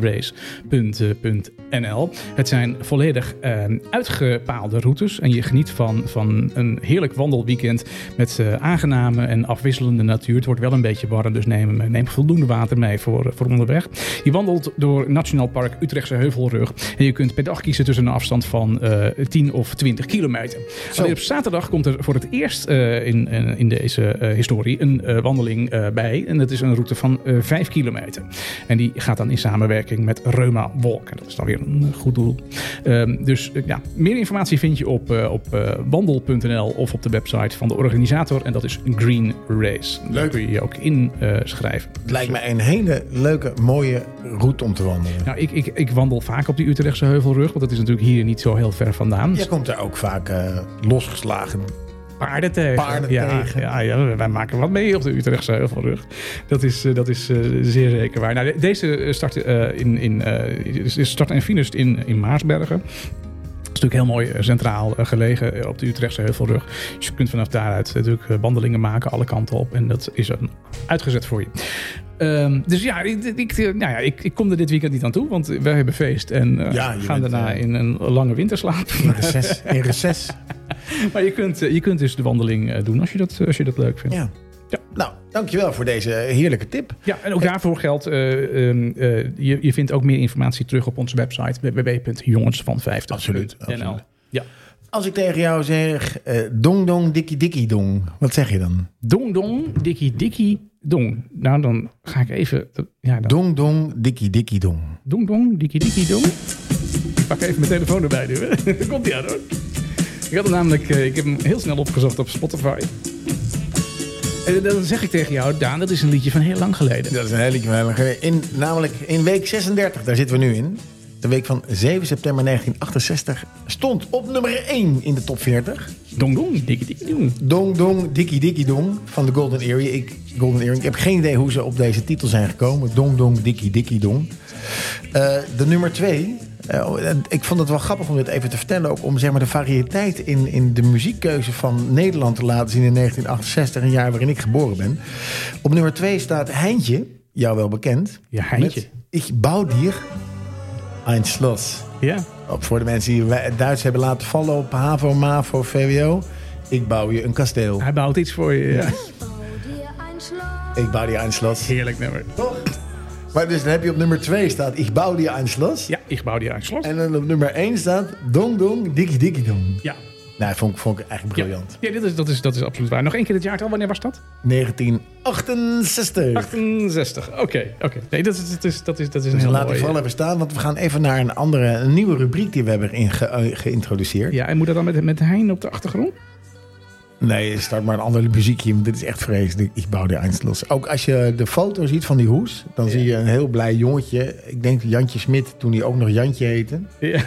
eh, www.greenrace.nl. Het zijn volledig eh, uitgepaalde routes en je geniet van, van een heerlijk wandelweekend met eh, aangename en afwisselende natuur. Het wordt wel een beetje warm, dus neem, neem voldoende water mee voor, eh, voor onderweg. Je wandelt door Nationaal Park Utrechtse Heuvelrug en je kunt per dag kiezen tussen een afstand van eh 10 of 20 kilometer.
Zo.
Alleen op zaterdag komt er voor het eerst eh, in, eh, in deze eh, historie een eh, wandeling eh, bij. En dat is een route van eh 5 kilometer. En die gaat dan in samenwerking met Reuma Walk. En dat is dan weer een eh, goed doel. Ehm, dus eh, ja, meer informatie vind je op, eh, op eh, wandel.nl of op de website van de organisator. En dat is Green Race. Daar
Leuk.
kun je je ook inschrijven.
Het lijkt mij een hele leuke, mooie route om te wandelen.
nou, ik, ik, ik wandel vaak op die Utrechtse heuvelrug, want dat is natuurlijk hier niet zo heel ver vandaan.
Je komt daar ook vaak eh, losgeslagen.
Paarden tegen.
Paarden
ja,
tegen.
Ja, ja, wij maken wat mee op de Utrechtse Heuvelrug. Dat is, eh, dat is eh, zeer zeker waar. Nou, de- deze eh, start, eh, in, in, eh, is- is start en finish in, in Maarsbergen. Het is natuurlijk heel mooi eh, centraal eh, gelegen eh, op de Utrechtse Heuvelrug. Dus je kunt vanaf daaruit natuurlijk eh, wandelingen maken alle kanten op. En dat is een uitgezet voor je. Ehm, dus ja, ik, ik, eh, nou ja ik, ik kom er dit weekend niet aan toe, want wij hebben feest. En eh,
Ja, je
gaan
bent,
daarna
eh,
in een lange winterslaap.
In reces. In reces.
Maar je kunt, eh, je kunt dus de wandeling eh, doen als je dat, als je dat leuk vindt. Ja.
Ja.
Ja.
Nou, dankjewel voor deze heerlijke tip.
en ook daarvoor geldt, eh, ehm, eh, je, je vindt ook meer informatie terug op onze website www.jongensvan50.
Absoluut, absoluut.
Ja.
Als ik tegen jou zeg, eh, dong dong dikkie dikkie dong, wat zeg je dan?
Dong dong, dikkie dikkie dong. Nou, dan ga ik even... Ja, dan.
Dong dong dikkie dikkie dong.
Dong dong, dikkie dikkie dong. Ik pak even mijn telefoon erbij nu. hè. Daar komt hij aan hoor. Ik had hem namelijk, eh, ik heb hem heel snel opgezocht op Spotify. En dan zeg ik tegen jou, Daan, dat is een liedje van heel lang geleden.
Dat is een hele knallige. In, namelijk in week 36, daar zitten we nu in. De week van 7 september 1968 stond op nummer 1 in de top 40.
Dong dong, dikkie dikkie dong.
Dong Dong Dikkie Dikkie Dong van de Golden Earring. Ik, Golden Earring. ik heb geen idee hoe ze op deze titel zijn gekomen. Dong Dong Dikkie Dikkie Dong. Eh, de nummer 2. ik vond het wel grappig om dit even te vertellen. Ook om zeg maar, de variëteit in, in de muziekkeuze van Nederland te laten zien in 1968. Een jaar waarin ik geboren ben. Op nummer 2 staat Heintje. Jou wel bekend.
Ja, Heintje.
Met Ik bouw dir ein Schloss.
Ja.
Op Voor de mensen die het Duits hebben laten vallen op HAVO, MAVO, VWO. Ik bouw je een kasteel.
Hij bouwt iets voor je. Ja.
Ik bouw die een Schloss.
Heerlijk nummer.
Toch? Maar dus dan heb je op nummer 2 staat Ik bouw die een Schloss.
Ja, ik bouw die aan slot.
En dan op nummer 1 staat Dong Dong Dikkie Dikkie Dong.
ja.
Nou, vond ik, vond ik eigenlijk
Ja,
briljant.
ja dit is, dat, is, dat is absoluut waar. Nog één keer het jaartal. Wanneer was dat?
1968.
68. Oké, oké. Nee, dat is, dat is, dat is, dat is een
Dus
heel
laat die
mooie-
vallen hebben staan, want we gaan even naar een andere, een nieuwe rubriek die we hebben in ge- eh, geïntroduceerd.
Ja, en moet dat dan met, met Hein op de achtergrond?
Nee, start maar een andere muziekje, want dit is echt vreselijk. Ik bouw die Eindslos. Ook als je de foto ziet van die hoes, dan zie je een heel blij jongetje. Ik denk Jantje Smit, toen hij ook nog Jantje heette.
Ja.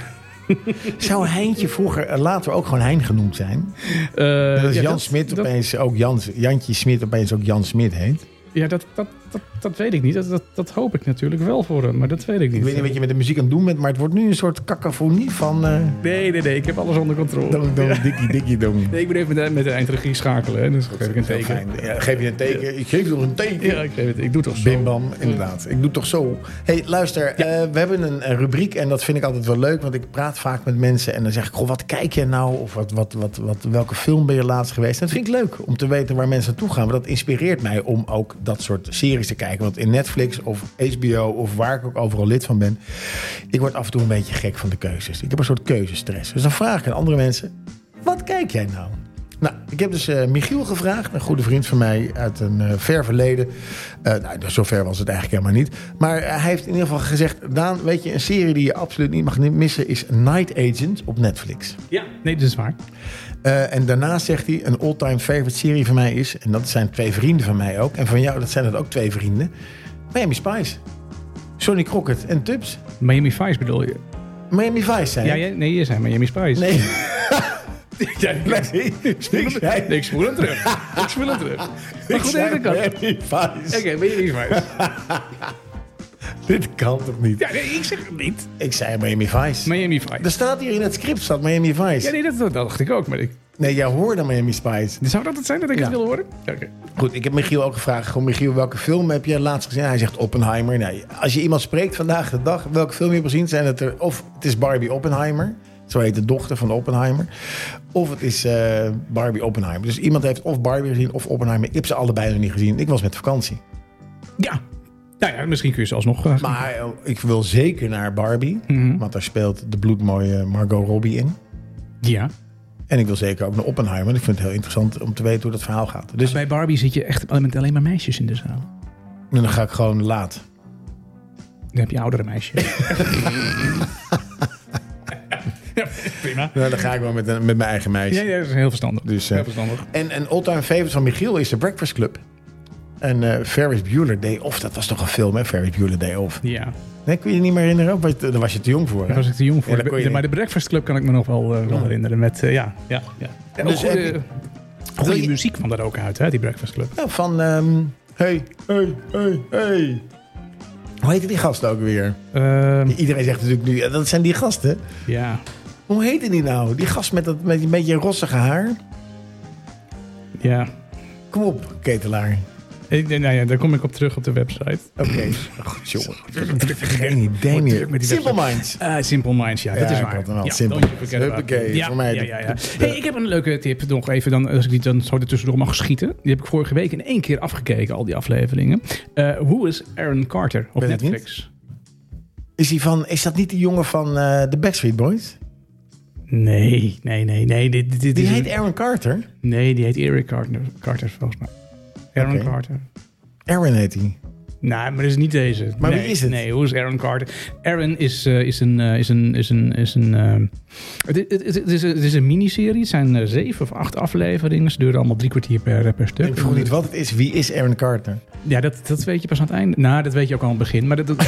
Zou Heintje vroeger eh, later ook gewoon Hein genoemd zijn?
Eh,
Dat
ja,
Jan Smit
dat-
opeens ook Jans, Jantje Smit opeens ook Jan Smit heet.
Ja, dat, dat, dat, dat weet ik niet. Dat, dat, dat hoop ik natuurlijk wel voor hem, maar dat weet ik niet.
Ik weet niet wat je met de muziek aan het doen bent, maar het wordt nu een soort cacophonie van... eh
Nee, nee, nee. Ik heb alles onder controle.
dong, dong, dikkie, dikkie, dong.
Nee, ik moet even met de, met de eindregie schakelen. Hè. Dus geef ik een
Heel
teken.
fijn. Ja, geef je een teken. Ik geef nog een teken.
Ja, ik weet het. Ik doe toch zo.
Bim bam, inderdaad. Ik doe het toch zo. hey, luister. eh, we hebben een, eh, rubriek en dat vind ik altijd wel leuk. Want ik praat vaak met mensen en dan zeg ik... Goh, wat kijk je nou? Of wat, wat, wat, wat, welke film ben je laatst geweest? En dat vind ik leuk om te weten waar mensen naartoe gaan. Want dat inspireert mij om ook dat soort series te kijken. Want in Netflix of HBO of waar ik ook overal lid van ben... ik word af en toe een beetje gek van de keuzes. Ik heb een soort keuzestress. Dus dan vraag ik aan andere mensen... Wat kijk jij nou? Nou, ik heb dus eh, Michiel gevraagd, een goede vriend van mij uit een eh, ver verleden. Eh nou, dus zo ver was het eigenlijk helemaal niet. Maar eh, hij heeft in ieder geval gezegd: Daan, weet je, een serie die je absoluut niet mag missen is Night Agent op Netflix.
Ja, nee, dat is waar.
Eh, en daarnaast zegt hij: Een all-time favorite serie van mij is, en dat zijn twee vrienden van mij ook, en van jou, dat zijn dat ook twee vrienden: Miami Spice, Sonny Crockett en Tubbs.
Miami Vice bedoel je?
Miami Vice zijn.
Ja, jij, nee, je zei Miami Spice.
Nee,
Jij
ik zei-
Nee, ik spoel hem terug. Ik spoel hem terug. Maar
ik
goed,
zei
nee, dat kan. Oké,
Miami Vice.
ben je niet wijs?
Dit kan toch niet?
Ja, nee, ik zeg het niet. Dus-
Ik zei Miami Vice.
Miami
Er
Vice.
staat hier in het script, staat Miami Vice.
Ja, nee, dat, dat dacht ik ook. Maar ik,
Nee, jij hoorde Miami Spice.
Zou dat het zijn dat ik
Ja.
het wil horen? Ja, Oké.
Goed, ik heb Michiel ook gevraagd. Gewoon, Michiel, welke film heb je laatst gezien? Hij zegt Oppenheimer. Nee, als je iemand spreekt vandaag de dag, welke film je hebt gezien, zijn het er. Of het is Barbie Oppenheimer. Zo heet de dochter van Oppenheimer. Of het is eh, Barbie Oppenheimer. Dus iemand heeft of Barbie gezien of Oppenheimer. Ik heb ze allebei nog niet gezien. Ik was met vakantie.
Ja. Nou ja, misschien kun je ze alsnog. eh,
Maar eh, ik wil zeker naar Barbie. Want daar speelt de bloedmooie Margot Robbie in.
ja.
En ik wil zeker ook naar Oppenheimer. want Ik vind het heel interessant om te weten hoe dat verhaal gaat. Dus
Bij Barbie zit je echt met alleen maar meisjes in de zaal.
dan ga ik gewoon laat.
Dan heb je oudere meisjes. ja, prima.
Nou, dan ga ik wel met, een- met mijn eigen meisje.
Ja, ja, dat is heel verstandig.
Dus, eh,
heel verstandig.
En een all-time favorite van Michiel is de Breakfast Club. En eh, Ferris Bueller Day Off, dat was toch een film, hè? Ferris Bueller Day Off.
Ja,
Nee, kun je je niet meer herinneren? Of was je te- Daar was je te jong voor. hè?
daar was ik te jong voor.
Ja, dat kon je
De- maar de
niet.
Breakfast Club kan ik me nog wel, eh, wel herinneren. Met, eh, ja, ja, ja. En ook
Dus heb
goede,
je-
goede
Wil je-
muziek kwam daar ook uit, hè, die Breakfast Club.
Nou, van... ehm, hey, hey, hey, hey. Hoe heette die gast ook weer?
Ehm,
Iedereen zegt natuurlijk nu, ja, dat zijn die gasten.
ja.
Hoe heette die nou? Die gast met dat met een beetje rossige haar?
ja.
Kom op, ketelaar.
Ik, denk, nou ja, daar kom ik op terug op de website.
Oké. Goed, jongen. Geen idee
Wordt druk
meer.
met die
Simple
website.
Minds.
Eh, Simple Minds, ja, dat
Ja,
is
ik
waar.
had hem al.
Ja,
Simple
don't you forget
Minds.
about it.
Huppakee,
ja,
voor mij
Ja,
de-
ja, ja.
de-
Hey, ik heb een leuke tip nog even, dan, als ik die dan zo er tussendoor mag schieten. Die heb ik vorige week in één keer afgekeken, al die afleveringen. Eh Who is Aaron Carter op
Ben ik
Netflix?
Is, die van, is dat niet die jongen van eh de Backstreet Boys?
Nee, nee, nee, nee. Dit, dit, dit
Die
is
heet
een-
Aaron Carter.
Nee, die heet Eric Carter, Carter volgens mij. Aaron
Oké.
Carter.
Aaron heet hij.
Nee, maar dat is niet deze.
Maar wie
nee,
is het?
Nee, hoe is Aaron Carter? Aaron is, eh, is een... eh, Is een, is een, is een ehm, het, i- het, het is, een- het is een miniserie. Het zijn eh, zeven of acht afleveringen. Ze duren allemaal drie kwartier per, per stuk.
Ik vroeg niet wat het is. Wie is Aaron Carter?
Ja, dat, dat weet je pas aan het einde. Nou, dat weet je ook al aan het begin. Maar dat, dat,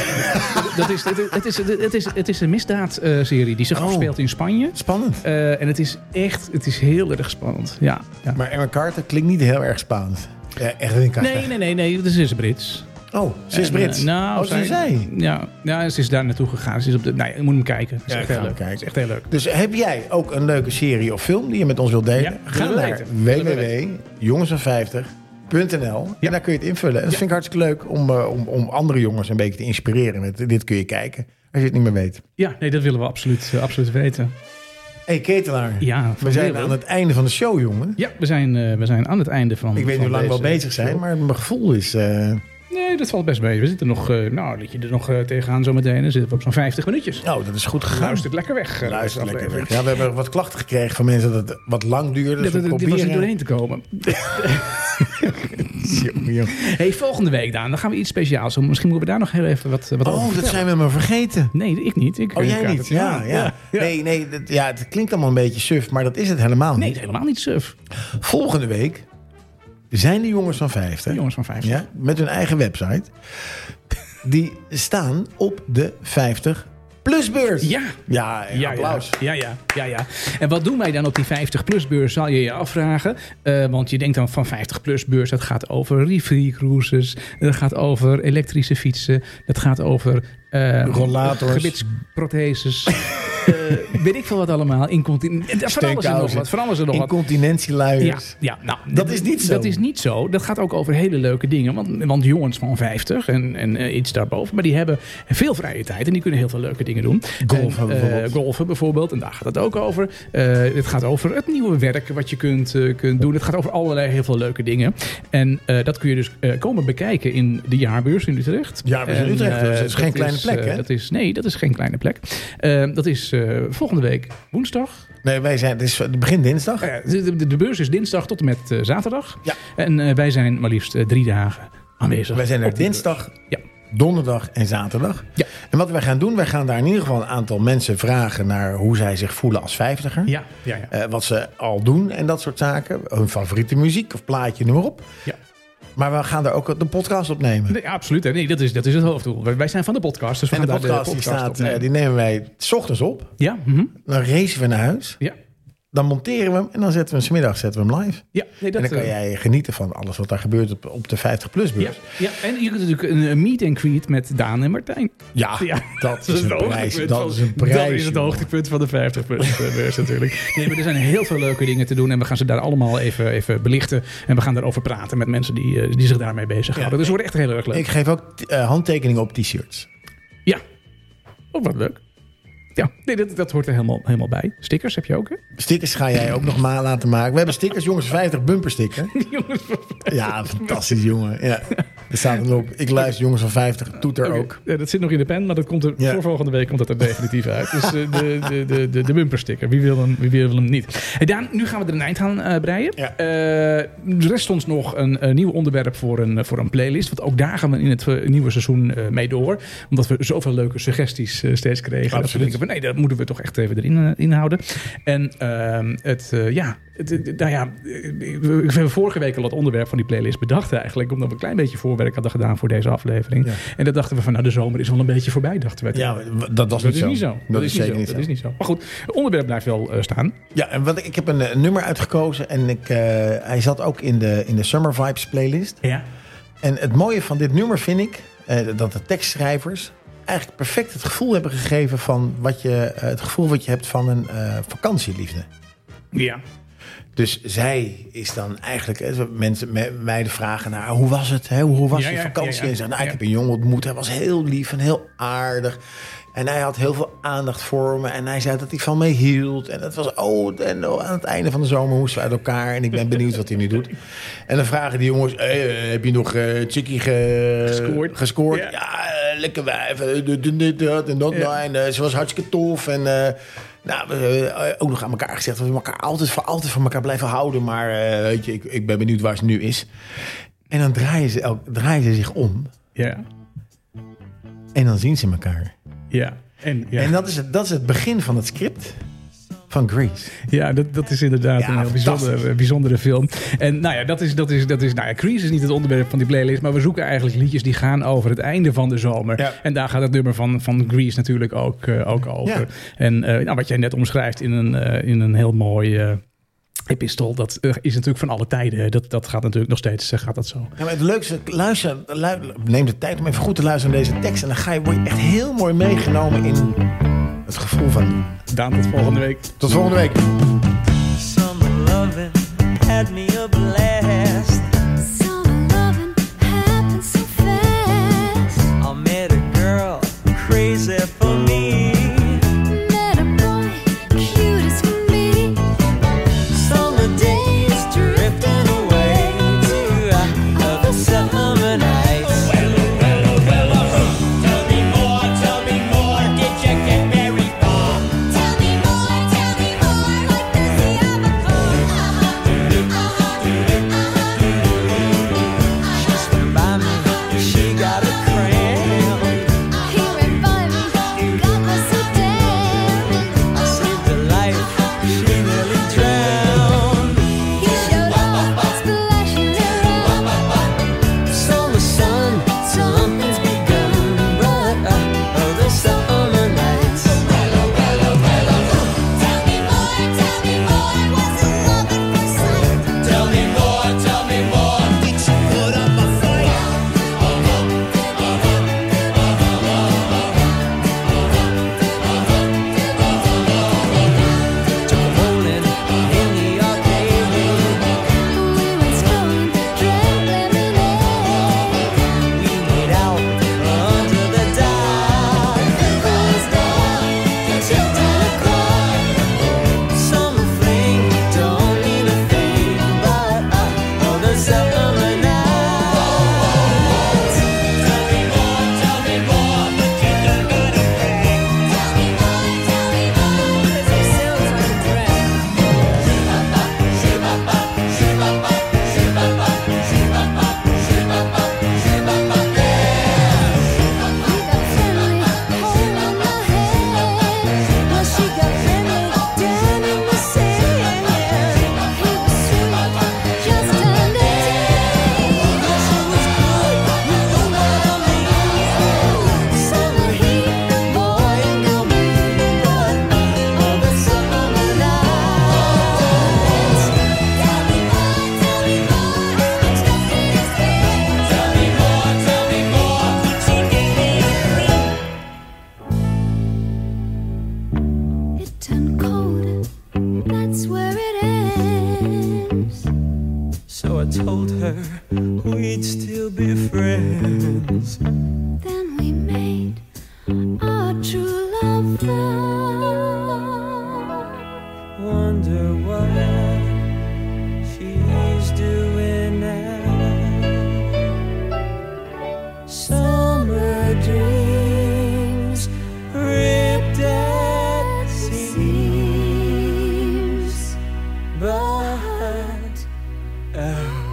dat is, het, het, is, het, is, het is een misdaadserie die zich
Oh.
afspeelt in Spanje.
Spannend.
Eh, en het is echt, het is heel erg spannend. Ja, ja.
Maar Aaron Carter klinkt niet heel erg Spaans. Ja, echt een kaart.
Nee, nee, nee, nee. Ze is Brits.
Oh, ze is
En,
Brits.
eh, nou,
oh, ze is zij.
Ja, ja, ze is daar naartoe gegaan. Ze is op de, nou, je moet hem kijken. Het is
Ja, ik
echt
ga
heel
hem
leuk.
kijken.
Het is echt heel leuk.
Dus heb jij ook een leuke serie of film die je met ons wilt delen?
Ja, gaan we weten. Gaan we
www.jongensvan50.nl En daar kun je het invullen. En dat vind ik hartstikke leuk om, eh, om, om andere jongens een beetje te inspireren. Met, dit kun je kijken als je het niet meer weet.
Ja, nee, dat willen we absoluut, eh, absoluut weten.
hey, Ketelaar.
Ja,
we zijn
wel.
aan het einde van de show, jongen.
Ja, we zijn, eh, we zijn aan het einde van.
Ik weet niet hoe
van
lang we al
deze
bezig zijn,
show.
maar mijn gevoel is... eh,
Nee, dat valt best mee. We zitten nog, eh, nou, liet je er nog eh, tegenaan zometeen. Dan zitten we op zo'n 50 minuutjes.
Oh, dat is goed gegaan.
Luistert lekker weg. eh,
Luister
deze
lekker
aflevering.
weg. Ja, we hebben wat klachten gekregen van mensen dat het wat lang duurde. Dus
Dat-
we
dat- Dit was er
proberen...
doorheen te komen.
Jongen, jongen.
Hey, volgende week dan, dan gaan we iets speciaals doen. Misschien moeten we daar nog heel even wat, eh, wat over
Oh, dat
vertellen.
zijn we maar vergeten.
Nee, ik niet. Ik,
Oh,
ik
jij
had
niet?
het-
Ja, ja. Nee, nee, dat, ja, het klinkt allemaal een beetje suf, maar dat is het helemaal
Nee,
niet.
het is helemaal niet suf.
Volgende week zijn de jongens van 50,
Jongens van 50.
ja, met hun eigen website, die staan op de 50 plusbeurs.
Ja.
Ja,
Ja,
applaus.
Ja, ja, ja, ja. En wat doen wij dan op die 50-plus-beurs, zal je je afvragen. Eh, want je denkt dan van 50-plus-beurs, dat gaat over reefree-cruises. Dat gaat over elektrische fietsen. Dat gaat over... eh,
Rollators.
Gebitsprotheses. eh, weet ik veel wat allemaal. Incontinent. Van alles en nog
Steenkousen.
wat. Van alles en nog wat. Ja,
Incontinentieluiers.
ja nou,
Dat is niet zo.
Dat is niet zo. Dat gaat ook over hele leuke dingen. Want, want jongens van 50 en, en eh, iets daarboven, maar die hebben veel vrije tijd en die kunnen heel veel leuke dingen doen.
Golfen
En, eh,
bijvoorbeeld.
golfen bijvoorbeeld, en daar gaat het ook over. Eh, het gaat over het nieuwe werk wat je kunt, eh, kunt doen. Het gaat over allerlei heel veel leuke dingen. En eh, dat kun je dus eh, komen bekijken in de jaarbeurs in Utrecht.
Jaarbeurs in
En,
Utrecht,
eh,
dus het is geen kleine plek,
eh,
hè?
Dat is, nee, dat is geen kleine plek. Eh, dat is eh, volgende week woensdag.
Nee, wij zijn, het is begin dinsdag.
Nou ja, de, de- de beurs is dinsdag tot en met eh, zaterdag.
Ja.
En eh, wij zijn maar liefst eh, drie dagen aanwezig.
Wij zijn er
op die
dinsdag,
Ja.
donderdag en zaterdag.
Ja.
En wat wij gaan doen, wij gaan daar in ieder geval een aantal mensen vragen naar hoe zij zich voelen als vijftiger.
beurs. Ja, ja, ja.
Eh, wat ze al doen en dat soort zaken. Hun favoriete muziek of plaatje, noem maar op.
Ja.
Maar we gaan daar ook de podcast opnemen.
Nee, absoluut. hè. Nee, dat is, dat is het hoofddoel. Wij, wij zijn van de podcast. Dus we
en de
gaan daar
podcast, die,
podcast
staat,
opnemen.
eh, die nemen wij s ochtends op.
Ja, mhm.
Dan racen we naar huis.
ja.
Dan monteren we hem en dan zetten we hem smiddag zetten we hem live.
Ja, nee, dat
en dan kan
eh,
jij dus- genieten van alles wat daar gebeurt op, op de 50-plus
Ja,
beurs.
ja, en je kunt natuurlijk een eh, meet and greet met Daan en Martijn.
Ja,
Ja,
dat is een
het
prijs.
hoogtepunt
Dat
van-
is een prijs.
Dat is het
jongen.
hoogtepunt van de 50 plus beurs natuurlijk. Nee, maar er zijn heel veel leuke dingen te doen. En we gaan ze daar allemaal even, even belichten. En we gaan daarover praten met mensen die, eh, die zich daarmee bezighouden.
Ja.
dus het wordt echt heel erg leuk.
Ik geef ook t- eh, handtekeningen op t-shirts.
Ja. Oh, wat leuk. Ja, nee, dat, dat hoort er helemaal, helemaal bij. Stickers heb je ook, hè?
Stickers ga jij ook nog maar laten maken. We hebben stickers, jongens, 50 bumpersticker. Ja, fantastisch, jongen. Ja. Er staat hem op. Ik luister, jongens van 50, toeter
Oké.
ook.
Ja, dat zit nog in de pen, maar dat komt er,
Ja.
voor volgende week komt dat er definitief uit. Dus eh, de, de, de, de, de bumpersticker, wie wil hem, wie wil hem niet. Hey Daan, nu gaan we er een eind aan eh, breien.
Ja.
Eh, er rest ons nog een, eh, nieuw onderwerp voor een, eh, voor een playlist. Want ook daar gaan we in het eh, nieuwe seizoen eh, mee door. Omdat we zoveel leuke suggesties eh, steeds kregen. Dat we
Absoluut.
denken van nee, dat moeten we toch echt even erin eh, in houden. En ehm, het, eh, ja, het, het- nou ja, eh, we we hebben vorige week al het onderwerp van die playlist bedacht eigenlijk. Omdat we een klein beetje voorwerk hadden gedaan voor deze aflevering.
Ja.
En dat dachten we van, nou de zomer is al een beetje voorbij, dachten we.
Ja, maar dat was niet
dat is
zo.
niet zo.
Dat, is zeker niet zo.
Dat is niet zo. Maar goed, het onderwerp blijft wel eh, staan.
Ja, en wat, ik- ik heb een eh, nummer uitgekozen en ik, eh, hij zat ook in de, in de Summer Vibes playlist.
Ja.
En het mooie van dit nummer vind ik eh, dat de tekstschrijvers eigenlijk perfect het gevoel hebben gegeven van wat je, eh, het gevoel wat je hebt van een eh, vakantieliefde.
Ja.
Dus zij is dan eigenlijk, hè, mensen me- meiden vragen naar hoe was het, hè? hoe was
Ja,
je
ja,
vakantie?
ja, ja.
En ze zeggen, nou, ik
Ja.
heb een jongen ontmoet, hij was heel lief en heel aardig. En hij had heel veel aandacht voor me en hij zei dat hij van me hield. En dat was, oh, en oh, aan het einde van de zomer moesten we uit elkaar en ik ben benieuwd wat hij nu doet. En dan vragen die jongens, hey, eh, heb je nog eh chickie ge-
Gescoord.
gescoord?
Ja.
Ja, eh, lekker wijf, eh, dit, dit, dit, dat en dat.
Ja.
Nou, en eh, ze was hartstikke tof. En eh, nou, we hebben ook nog aan elkaar gezegd dat we elkaar altijd, voor altijd van elkaar blijven houden. Maar eh, weet je, ik, ik ben benieuwd waar ze nu is. En dan draaien ze, elk- draaien ze zich om
Ja.
en dan zien ze elkaar.
Ja. En, ja.
En dat is, het, dat is het begin van het script van Grace.
Ja, dat, dat is inderdaad
Ja,
een heel bijzondere, eh,
fantastisch.
bijzondere film. En nou ja, dat is, dat is, dat is, nou ja, Crease is niet het onderwerp van die playlist, maar we zoeken eigenlijk liedjes die gaan over het einde van de zomer.
Ja.
En daar gaat het nummer van, van Grease natuurlijk ook, eh, ook over.
Ja.
En eh, nou, wat jij net omschrijft in een, eh, in een heel mooi eh epistel, dat eh, is natuurlijk van alle tijden. Dat, dat gaat natuurlijk nog steeds, eh, gaat dat zo.
Ja, maar het leukste, luister, lu- neem de tijd om even goed te luisteren naar deze tekst. En dan ga je, word je echt heel mooi meegenomen in het gevoel van...
Daan, tot volgende week.
Tot volgende week.
Summer loving had me a blast.
Summer loving happened so fast.
I met a girl crazy for me.
Met a boy cute as can be.
Summer days drifting away to uh, the summer nights.
Tell me more, tell me more, did you get very far?
Tell me more, tell me more, what does he where it ends.
So I told her we'd still be friends.
Then we made our true love vow.
Wonder what she's doing now. Summer dreams ripped at seams, but. Oh.